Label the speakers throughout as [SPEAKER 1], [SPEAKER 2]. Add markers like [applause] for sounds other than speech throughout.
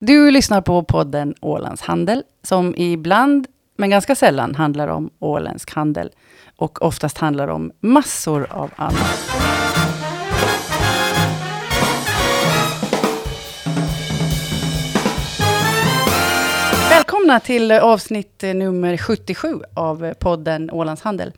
[SPEAKER 1] Du lyssnar på podden Ålands Handel, som ibland, men ganska sällan, handlar om åländsk handel. Och oftast handlar om massor av annat. Välkomna till avsnitt nummer 77 av podden Ålands Handel.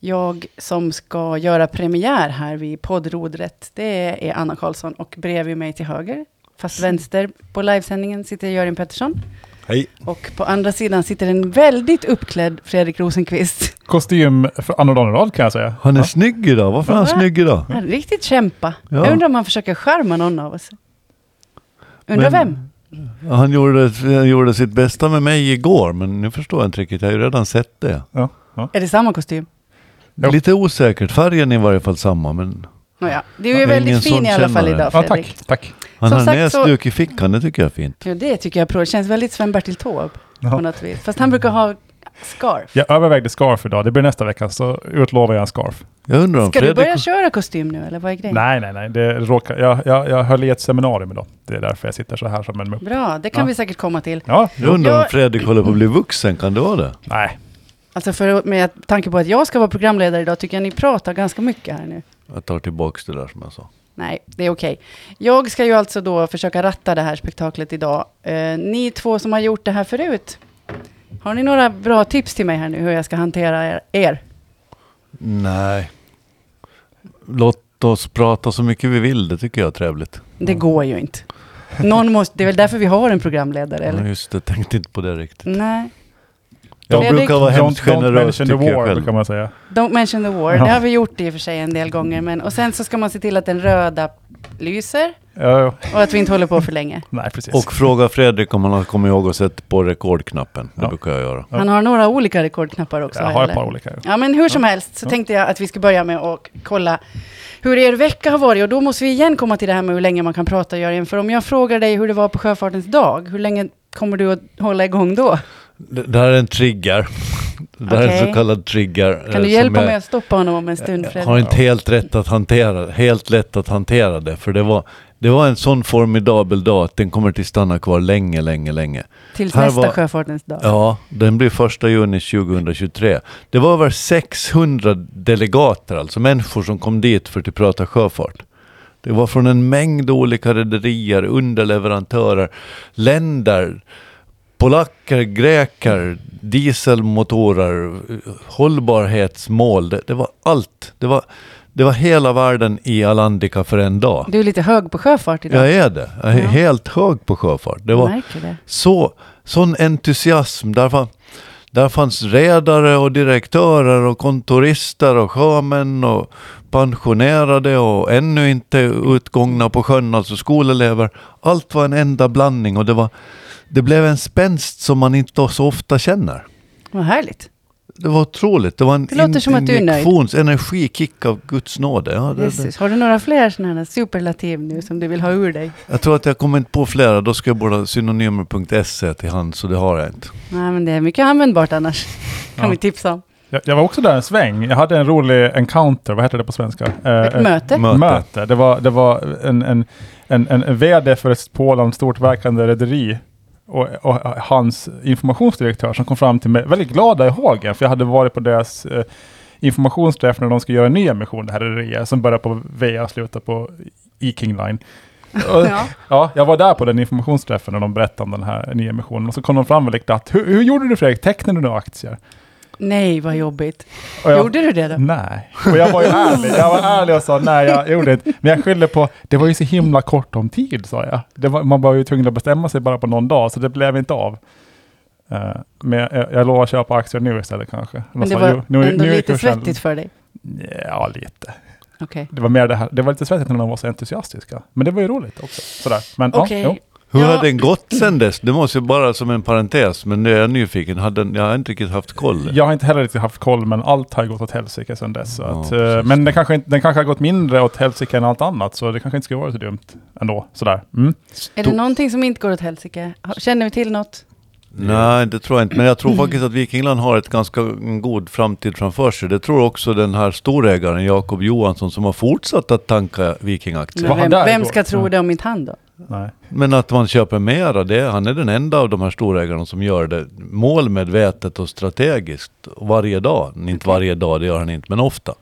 [SPEAKER 1] Jag som ska göra premiär här vid poddrodret, det är Anna Karlsson och bredvid mig till höger, fast vänster på livesändningen, sitter Göran Pettersson.
[SPEAKER 2] Hej.
[SPEAKER 1] Och på andra sidan sitter en väldigt uppklädd Fredrik Rosenqvist.
[SPEAKER 3] Kostym för Anno Donnerad kan jag säga.
[SPEAKER 2] Han är snygg idag. Varför är han
[SPEAKER 1] Ja.
[SPEAKER 2] snygg idag?
[SPEAKER 1] Han riktigt kämpa.
[SPEAKER 2] Ja.
[SPEAKER 1] Jag undrar om han försöker skärma någon av oss. Undrar
[SPEAKER 2] Men-
[SPEAKER 1] vem?
[SPEAKER 2] Han gjorde, han gjorde sitt bästa med mig igår, men nu förstår jag inte riktigt. Jag har ju redan sett det.
[SPEAKER 3] Ja, ja.
[SPEAKER 1] Är det samma kostym?
[SPEAKER 3] Jo.
[SPEAKER 2] Lite osäkert. Färgen är i varje fall samma, men
[SPEAKER 1] Nåja, du är
[SPEAKER 2] Ja,
[SPEAKER 1] väldigt
[SPEAKER 2] ingen
[SPEAKER 1] fin
[SPEAKER 2] sån
[SPEAKER 1] i alla fall
[SPEAKER 2] kännare.
[SPEAKER 1] idag
[SPEAKER 3] ja
[SPEAKER 1] Fredrik.
[SPEAKER 3] tack. tack.
[SPEAKER 2] han
[SPEAKER 1] Som
[SPEAKER 2] har
[SPEAKER 1] sagt
[SPEAKER 2] näsduk i fickan. Det tycker jag är fint.
[SPEAKER 1] Ja, det tycker jag är pro. Det känns väldigt Sven-Bertil Taube på
[SPEAKER 3] Ja.
[SPEAKER 1] något vis. Fast han brukar ha scarf.
[SPEAKER 3] Jag övervägde scarf idag, det blir nästa vecka, så utlovar jag en scarf.
[SPEAKER 2] Jag undrar om
[SPEAKER 1] Ska du
[SPEAKER 2] Fredrik...
[SPEAKER 1] börja köra kostym nu eller vad är grejen?
[SPEAKER 3] Nej, nej, nej. Det råkar, jag, jag, jag höll i ett seminarium idag. Det är därför jag sitter så här som en mupp.
[SPEAKER 1] Bra, det kan
[SPEAKER 3] Ja.
[SPEAKER 1] vi säkert komma till.
[SPEAKER 3] Ja,
[SPEAKER 2] Jag undrar om
[SPEAKER 1] Jag-
[SPEAKER 2] Fredrik håller på att bli vuxen. Kan det vara det?
[SPEAKER 3] nej.
[SPEAKER 1] Alltså för, med tanke på att jag ska vara programledare idag tycker jag ni pratar ganska mycket här nu.
[SPEAKER 2] Jag tar tillbaks det där som jag sa.
[SPEAKER 1] Nej, det är okej. Jag ska ju alltså då försöka ratta det här spektaklet idag. Eh, ni två som har gjort det här förut, har ni några bra tips till mig här nu hur jag ska hantera er? er?
[SPEAKER 2] Nej. Låt oss prata så mycket vi vill. Det tycker jag är trevligt.
[SPEAKER 1] Det går ju inte.
[SPEAKER 3] [laughs]
[SPEAKER 1] Någon måste, det är väl därför vi har en programledare,
[SPEAKER 2] Ja,
[SPEAKER 1] eller?
[SPEAKER 2] just det. Tänkte inte på det riktigt.
[SPEAKER 1] Nej.
[SPEAKER 2] Jag
[SPEAKER 1] Fredrik-
[SPEAKER 2] brukar vara hemskt
[SPEAKER 3] Don't, don't
[SPEAKER 2] generös,
[SPEAKER 3] mention the
[SPEAKER 2] tycker
[SPEAKER 3] war,
[SPEAKER 2] jag själv.
[SPEAKER 3] brukar man säga.
[SPEAKER 1] Don't mention the war.
[SPEAKER 3] Ja.
[SPEAKER 1] Det har vi gjort i och för sig en del gånger. Men, och sen så ska man se till att den röda lyser
[SPEAKER 3] Ja, ja.
[SPEAKER 1] och att vi inte håller på för länge.
[SPEAKER 3] nej, precis.
[SPEAKER 2] Och fråga Fredrik om han har kommit ihåg och sett på rekordknappen. Det
[SPEAKER 3] Ja.
[SPEAKER 2] brukar jag göra.
[SPEAKER 3] Ja.
[SPEAKER 1] Han har några olika rekordknappar också.
[SPEAKER 3] jag
[SPEAKER 1] vad
[SPEAKER 3] har
[SPEAKER 1] gäller.
[SPEAKER 3] ett par olika. ja.
[SPEAKER 1] Ja, men hur som helst så
[SPEAKER 3] Ja.
[SPEAKER 1] tänkte jag att vi ska börja med att kolla hur er vecka har varit. Och då måste vi igen komma till det här med hur länge man kan prata, Jörgen. För om jag frågar dig hur det var på Sjöfartens dag, hur länge kommer du att hålla igång då?
[SPEAKER 2] Det, det här är en trigger. Det här är en
[SPEAKER 1] Okej.
[SPEAKER 2] så kallad trigger. eh,
[SPEAKER 1] Kan du
[SPEAKER 2] som
[SPEAKER 1] hjälpa
[SPEAKER 2] jag Eh,
[SPEAKER 1] mig att stoppa honom om en stund, Fredrik?
[SPEAKER 2] Har inte helt rätt att hantera, helt lätt att hantera det. För det var, det var en sån formidabel dag att den kommer till stanna kvar länge, länge, länge.
[SPEAKER 1] Tills
[SPEAKER 2] här
[SPEAKER 1] nästa
[SPEAKER 2] var-
[SPEAKER 1] Sjöfartens dag.
[SPEAKER 2] Ja, den blir första juni 2023. Det var över 600 delegater, alltså människor som kom dit för att prata sjöfart. Det var från en mängd olika rederier, underleverantörer, länder, polacker, greker, dieselmotorer, hållbarhetsmål. Det, det var allt. Det var, det var hela världen i Alandica för en dag.
[SPEAKER 1] Du är lite hög på sjöfart idag.
[SPEAKER 2] Jag är det. Jag är
[SPEAKER 1] Ja.
[SPEAKER 2] helt hög på sjöfart. Det
[SPEAKER 1] Jag
[SPEAKER 2] var,
[SPEAKER 1] märker det.
[SPEAKER 2] så, sån entusiasm. Där, fan, där fanns redare och direktörer och kontorister och sjömän och pensionerade och ännu inte utgångna på sjön, alltså skolelever. Allt var en enda blandning och det, var, det blev en spänst som man inte så ofta känner.
[SPEAKER 1] Vad härligt.
[SPEAKER 2] Det var otroligt. Det var en
[SPEAKER 1] Det låter som att du är nöjd.
[SPEAKER 2] injektions, energikick av Guds nåde. Ja, det, det.
[SPEAKER 1] Jesus. Har du några fler sådana här superlativ nu som du vill ha ur dig?
[SPEAKER 2] Jag tror att jag kommer inte på flera. Då ska jag bara ha synonymer.se till hand, så det har jag inte.
[SPEAKER 1] Nej, men det är mycket användbart annars. Kan
[SPEAKER 3] Ja.
[SPEAKER 1] vi tipsa om.
[SPEAKER 3] Jag, jag var också där en sväng. Jag hade en rolig encounter, vad heter det på svenska? Eh,
[SPEAKER 1] Ett
[SPEAKER 3] eh,
[SPEAKER 1] möte.
[SPEAKER 2] Möte.
[SPEAKER 3] möte. Det var, det var en, en, en, en, en vd för ett på Åland stort verkande rederi och, och hans informationsdirektör som kom fram till mig, väldigt glada i hågen, för jag hade varit på deras eh, informationsträff när de skulle göra en ny emission, det här rederiet, som börjar på V och slutar på E-King Line.
[SPEAKER 1] [laughs]
[SPEAKER 3] Och,
[SPEAKER 1] Ja.
[SPEAKER 3] Ja, jag var där på den informationsträffen när de berättade om den här nyemissionen och så kom de fram väldigt glatt. Hur, hur gjorde du Fredrik? Tecknade du några aktier?
[SPEAKER 1] Nej, vad jobbigt.
[SPEAKER 3] Och jag-
[SPEAKER 1] Gjorde du det då?
[SPEAKER 3] Nej. Och jag var ju ärlig. Jag var ärlig och sa nej, jag gjorde inte. Men jag skyllde på, det var ju så himla kort om tid, sa jag. Det var, man var ju tvungen att bestämma sig bara på någon dag, så det blev inte av. Eh, men jag, jag lovar att köpa aktier nu istället kanske.
[SPEAKER 1] Men det
[SPEAKER 3] sa,
[SPEAKER 1] var
[SPEAKER 3] "Jo, nu-
[SPEAKER 1] ändå
[SPEAKER 3] nu är
[SPEAKER 1] lite
[SPEAKER 3] kursen-"
[SPEAKER 1] svettigt för dig.
[SPEAKER 3] Ja, lite.
[SPEAKER 1] Okej.
[SPEAKER 3] Det var mer det här, det var lite svettigt när de var så entusiastiska. Men det var ju roligt också. Sådär. Men
[SPEAKER 1] Okej.
[SPEAKER 3] ja, jo.
[SPEAKER 2] Hur
[SPEAKER 1] Ja.
[SPEAKER 2] har den gått sen dess? Det måste jag bara som en parentes, men det är jag nyfiken. Hade, den- jag har inte riktigt haft koll.
[SPEAKER 3] Jag har inte heller riktigt haft koll, men allt har ju gått åt helsike sedan dess. Så
[SPEAKER 2] Ja,
[SPEAKER 3] att,
[SPEAKER 2] precis.
[SPEAKER 3] eh, men den kanske, inte- den kanske har gått mindre åt helsike än allt annat, så det kanske inte skulle vara så dumt ändå. Sådär. Mm.
[SPEAKER 1] Är det någonting som inte går åt helsike? Har- Känner vi till något?
[SPEAKER 2] Nej, det tror jag inte. Men jag tror faktiskt att Vikingland har ett ganska en god framtid framför sig. Det tror också den här storägaren Jakob Johansson som har fortsatt att tanka Vikingaktier.
[SPEAKER 1] Men
[SPEAKER 3] Var han
[SPEAKER 1] vem,
[SPEAKER 3] där Mm.
[SPEAKER 1] vem
[SPEAKER 3] igår?
[SPEAKER 1] ska tro
[SPEAKER 3] Ja.
[SPEAKER 1] det om inte han då?
[SPEAKER 3] Nej.
[SPEAKER 2] Men att man köper mera, det, han är den enda av de här storägarna som gör det målmedvetet och strategiskt varje dag. Inte varje dag, det gör han inte, men ofta.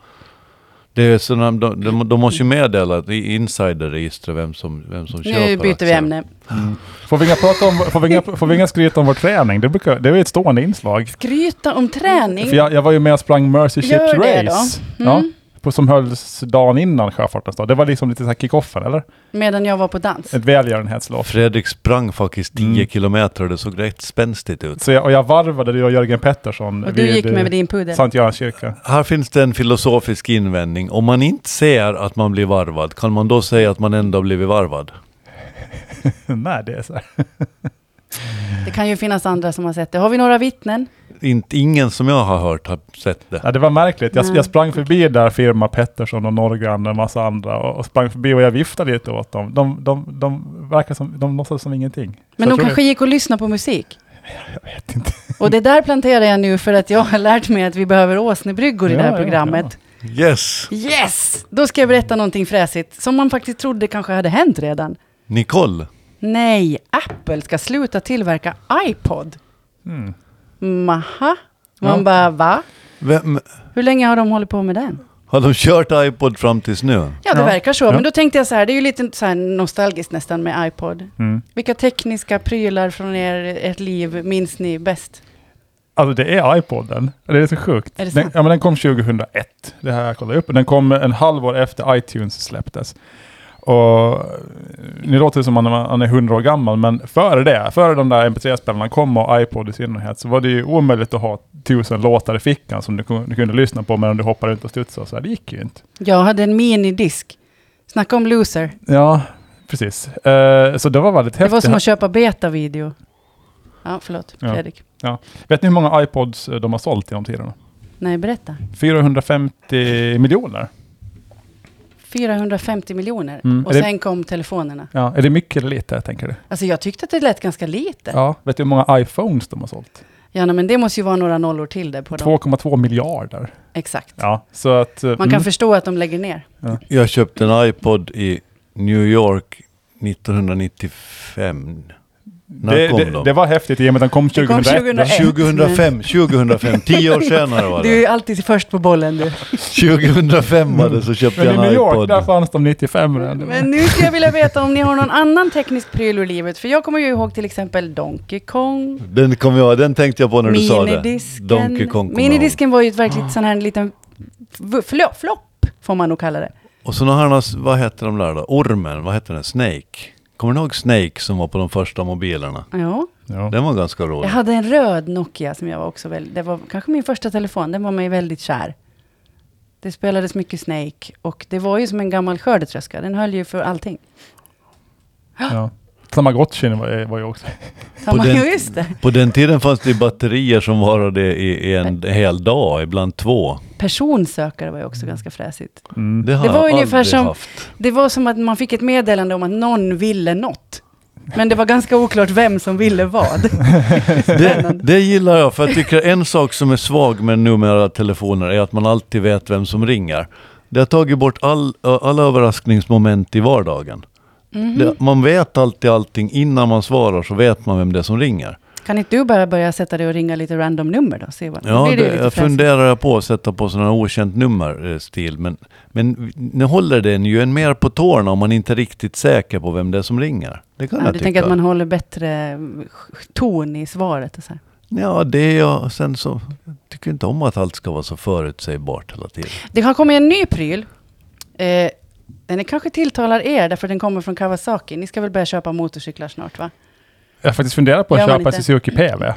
[SPEAKER 2] Det är sådana, de, de, de måste ju meddela i insiderregistret vem som, vem som köper
[SPEAKER 1] Nu byter vi
[SPEAKER 2] aktierna.
[SPEAKER 1] ämne.
[SPEAKER 3] Får vi inga, prata om, får vi inga, får vi inga skryta om vår träning? Det, brukar, det är ju ett stående inslag.
[SPEAKER 1] Skryta om träning.
[SPEAKER 3] För jag, jag var ju med och sprang Mercy Ships
[SPEAKER 1] Gör det
[SPEAKER 3] Race.
[SPEAKER 1] då. Mm.
[SPEAKER 3] Ja, på, som hölls dagen innan sjöfartens dag. Det var liksom lite så här kick-offen, eller?
[SPEAKER 1] Medan jag var på dans.
[SPEAKER 3] Ett välgörenhetslov.
[SPEAKER 2] Fredrik sprang faktiskt 10
[SPEAKER 3] Mm.
[SPEAKER 2] kilometer och det såg rätt spänstigt ut.
[SPEAKER 3] Så jag, och jag varvade du och Jörgen Pettersson
[SPEAKER 1] Och du gick
[SPEAKER 3] eh,
[SPEAKER 1] med din pudel.
[SPEAKER 3] Sankt Görans kyrka.
[SPEAKER 2] Här finns det en filosofisk invändning. Om man inte ser att man blir varvad, kan man då säga att man ändå har blivit varvad?
[SPEAKER 3] [laughs] Nej, det är så här.
[SPEAKER 1] Det kan ju finnas andra som har sett det. Har vi några vittnen?
[SPEAKER 2] Inte, ingen som jag har hört har sett det.
[SPEAKER 3] Ja, det var märkligt. Jag,
[SPEAKER 1] Nej.
[SPEAKER 3] jag sprang förbi där firma Pettersson och Norrgran och en massa andra och, och sprang förbi och jag viftade lite åt dem. De, de, de verkar som, de låtsades som ingenting.
[SPEAKER 1] Men
[SPEAKER 3] Så jag
[SPEAKER 1] de
[SPEAKER 3] tror
[SPEAKER 1] kanske gick och lyssnade på musik.
[SPEAKER 3] Jag vet inte.
[SPEAKER 1] Och det där planterar jag nu för att jag har lärt mig att vi behöver åsnebryggor i det
[SPEAKER 3] Ja,
[SPEAKER 1] här
[SPEAKER 3] ja,
[SPEAKER 1] programmet.
[SPEAKER 2] Yes!
[SPEAKER 1] Yes! Då ska jag berätta någonting fräsigt som man faktiskt trodde kanske hade hänt redan.
[SPEAKER 2] Nicole,
[SPEAKER 1] Nej, Apple ska sluta tillverka iPod.
[SPEAKER 3] Mm.
[SPEAKER 1] Maha? Man
[SPEAKER 3] Ja.
[SPEAKER 1] bara, va?
[SPEAKER 2] vem,
[SPEAKER 1] Hur länge har de hållit på med den?
[SPEAKER 2] har de kört iPod fram tills nu?
[SPEAKER 1] Ja, det
[SPEAKER 3] Ja.
[SPEAKER 1] verkar så.
[SPEAKER 3] Ja.
[SPEAKER 1] Men då tänkte jag så här, det är ju lite så här nostalgiskt nästan med iPod.
[SPEAKER 3] Mm.
[SPEAKER 1] Vilka tekniska prylar från er, ert liv minns ni bäst?
[SPEAKER 3] Alltså det är iPoden. Det är så sjukt.
[SPEAKER 1] Är det
[SPEAKER 3] den,
[SPEAKER 1] sant?
[SPEAKER 3] ja, men den kom 2001. Det här jag kollade upp. Den kom en halvår efter iTunes släpptes. Och eh, nu låter det som att man är 100 år gammal, men före det, före de där mp3-spelarna kom och iPod i synnerhet, så var det ju omöjligt att ha tusen låtar i fickan som du, kun- du kunde lyssna på medan du hoppade runt och studsade. och Så här. Det gick ju inte.
[SPEAKER 1] Jag hade en minidisk. Snacka om loser.
[SPEAKER 3] Ja, precis. Eh, så det var väldigt
[SPEAKER 1] Det var
[SPEAKER 3] häftigt.
[SPEAKER 1] som att köpa betavideo. Ja, förlåt,
[SPEAKER 3] Ja.
[SPEAKER 1] Fredrik.
[SPEAKER 3] Vet ni hur många iPods eh, de har sålt genom tiderna?
[SPEAKER 1] Nej, berätta.
[SPEAKER 3] 450 miljoner.
[SPEAKER 1] 450 miljoner.
[SPEAKER 3] Mm.
[SPEAKER 1] Och
[SPEAKER 3] Är det-
[SPEAKER 1] sen kom telefonerna.
[SPEAKER 3] Ja, är det mycket eller lite, tänker du?
[SPEAKER 1] Alltså jag tyckte att det lät ganska lite. Ja,
[SPEAKER 3] Ja, vet du hur många iPhones de har sålt?
[SPEAKER 1] nej, men det måste ju vara några nollor till där på dem.
[SPEAKER 3] 2,2 miljarder.
[SPEAKER 1] Exakt.
[SPEAKER 3] Ja, så att... eh,
[SPEAKER 1] Man kan
[SPEAKER 3] mm,
[SPEAKER 1] förstå att de lägger ner.
[SPEAKER 2] Jag köpte en iPod i New York 1995. När
[SPEAKER 3] det,
[SPEAKER 2] kom
[SPEAKER 3] det,
[SPEAKER 2] de?
[SPEAKER 3] det var häftigt i och med att den kom
[SPEAKER 1] Det kom
[SPEAKER 3] 2001.
[SPEAKER 1] 2001.
[SPEAKER 2] 2005, 2005, tio år senare var
[SPEAKER 1] Du
[SPEAKER 2] det.
[SPEAKER 1] är alltid först på bollen du.
[SPEAKER 2] 2005 var det så köpte
[SPEAKER 3] Men i
[SPEAKER 2] jag
[SPEAKER 3] New
[SPEAKER 2] en
[SPEAKER 3] York,
[SPEAKER 2] iPod.
[SPEAKER 3] där fanns de 95 redan.
[SPEAKER 1] Men nu skulle jag vilja veta om ni har någon annan teknisk pryl ur livet. För jag kommer ju ihåg till exempel Donkey Kong,
[SPEAKER 2] Den kom jag den tänkte jag på när du sa det. Donkey
[SPEAKER 1] Minidisken.
[SPEAKER 2] Kong kom jag ihåg.
[SPEAKER 1] Minidisken var ju ett verkligt sån här en liten v- flö- flopp, får man nog kalla det.
[SPEAKER 2] Och så har han, vad hette de där då? Ormen, vad hette den? Snake. Kommer ni ihåg Snake som var på de första mobilerna?
[SPEAKER 1] Ja.
[SPEAKER 3] Ja.
[SPEAKER 2] Den var ganska
[SPEAKER 1] Jag
[SPEAKER 2] rolig.
[SPEAKER 1] hade en röd Nokia som jag var också väldigt, det var kanske min första telefon, den var mig väldigt kär. Det spelades mycket Snake och det var ju som en gammal skördetröska, den höll ju för allting.
[SPEAKER 3] Ja. Tamagotchi var, var ju också...
[SPEAKER 1] Tar man,
[SPEAKER 2] den-
[SPEAKER 1] ja, just det.
[SPEAKER 2] På den tiden fanns det ju batterier som varade i, i en hel dag, ibland två.
[SPEAKER 1] Personsökare var ju också ganska fräsigt.
[SPEAKER 3] Mm.
[SPEAKER 2] Det har
[SPEAKER 1] Det var
[SPEAKER 2] jag
[SPEAKER 1] ungefär
[SPEAKER 2] aldrig
[SPEAKER 1] som-
[SPEAKER 2] haft.
[SPEAKER 1] Det var som att man fick ett meddelande om att någon ville något. Men det var ganska oklart vem som ville vad.
[SPEAKER 2] Det, det gillar jag, för jag tycker en sak som är svag med numera telefoner är att man alltid vet vem som ringer. Det har tagit bort all, alla överraskningsmoment i vardagen.
[SPEAKER 1] Mhm.
[SPEAKER 2] Det, man vet alltid allting, innan man svarar så vet man vem det är som ringer.
[SPEAKER 1] Kan inte du bara börja sätta dig och ringa lite random nummer då? Se vad. då
[SPEAKER 2] Ja,
[SPEAKER 1] blir ju
[SPEAKER 2] det,
[SPEAKER 1] lite
[SPEAKER 2] jag
[SPEAKER 1] fräsigt.
[SPEAKER 2] funderar jag på att sätta på sådana här okänt nummer-stil. Men, men nu håller den ju en mer på tårna om man inte är riktigt säker på vem det är som ringer. Det kan
[SPEAKER 1] Ja,
[SPEAKER 2] jag
[SPEAKER 1] du
[SPEAKER 2] tycka.
[SPEAKER 1] tänker att man håller bättre mm, ton i svaret och så här.
[SPEAKER 2] Ja, det är jag. Sen så jag tycker inte om att allt ska vara så förutsägbart hela tiden.
[SPEAKER 1] Det har kommit en ny pryl. Eh, den är kanske tilltalar er, därför den kommer från Kawasaki. Ni ska väl börja köpa motorcyklar snart, va?
[SPEAKER 3] Jag har faktiskt funderat på att
[SPEAKER 1] Gör man
[SPEAKER 3] köpa en
[SPEAKER 1] inte.
[SPEAKER 3] Suzuki PV.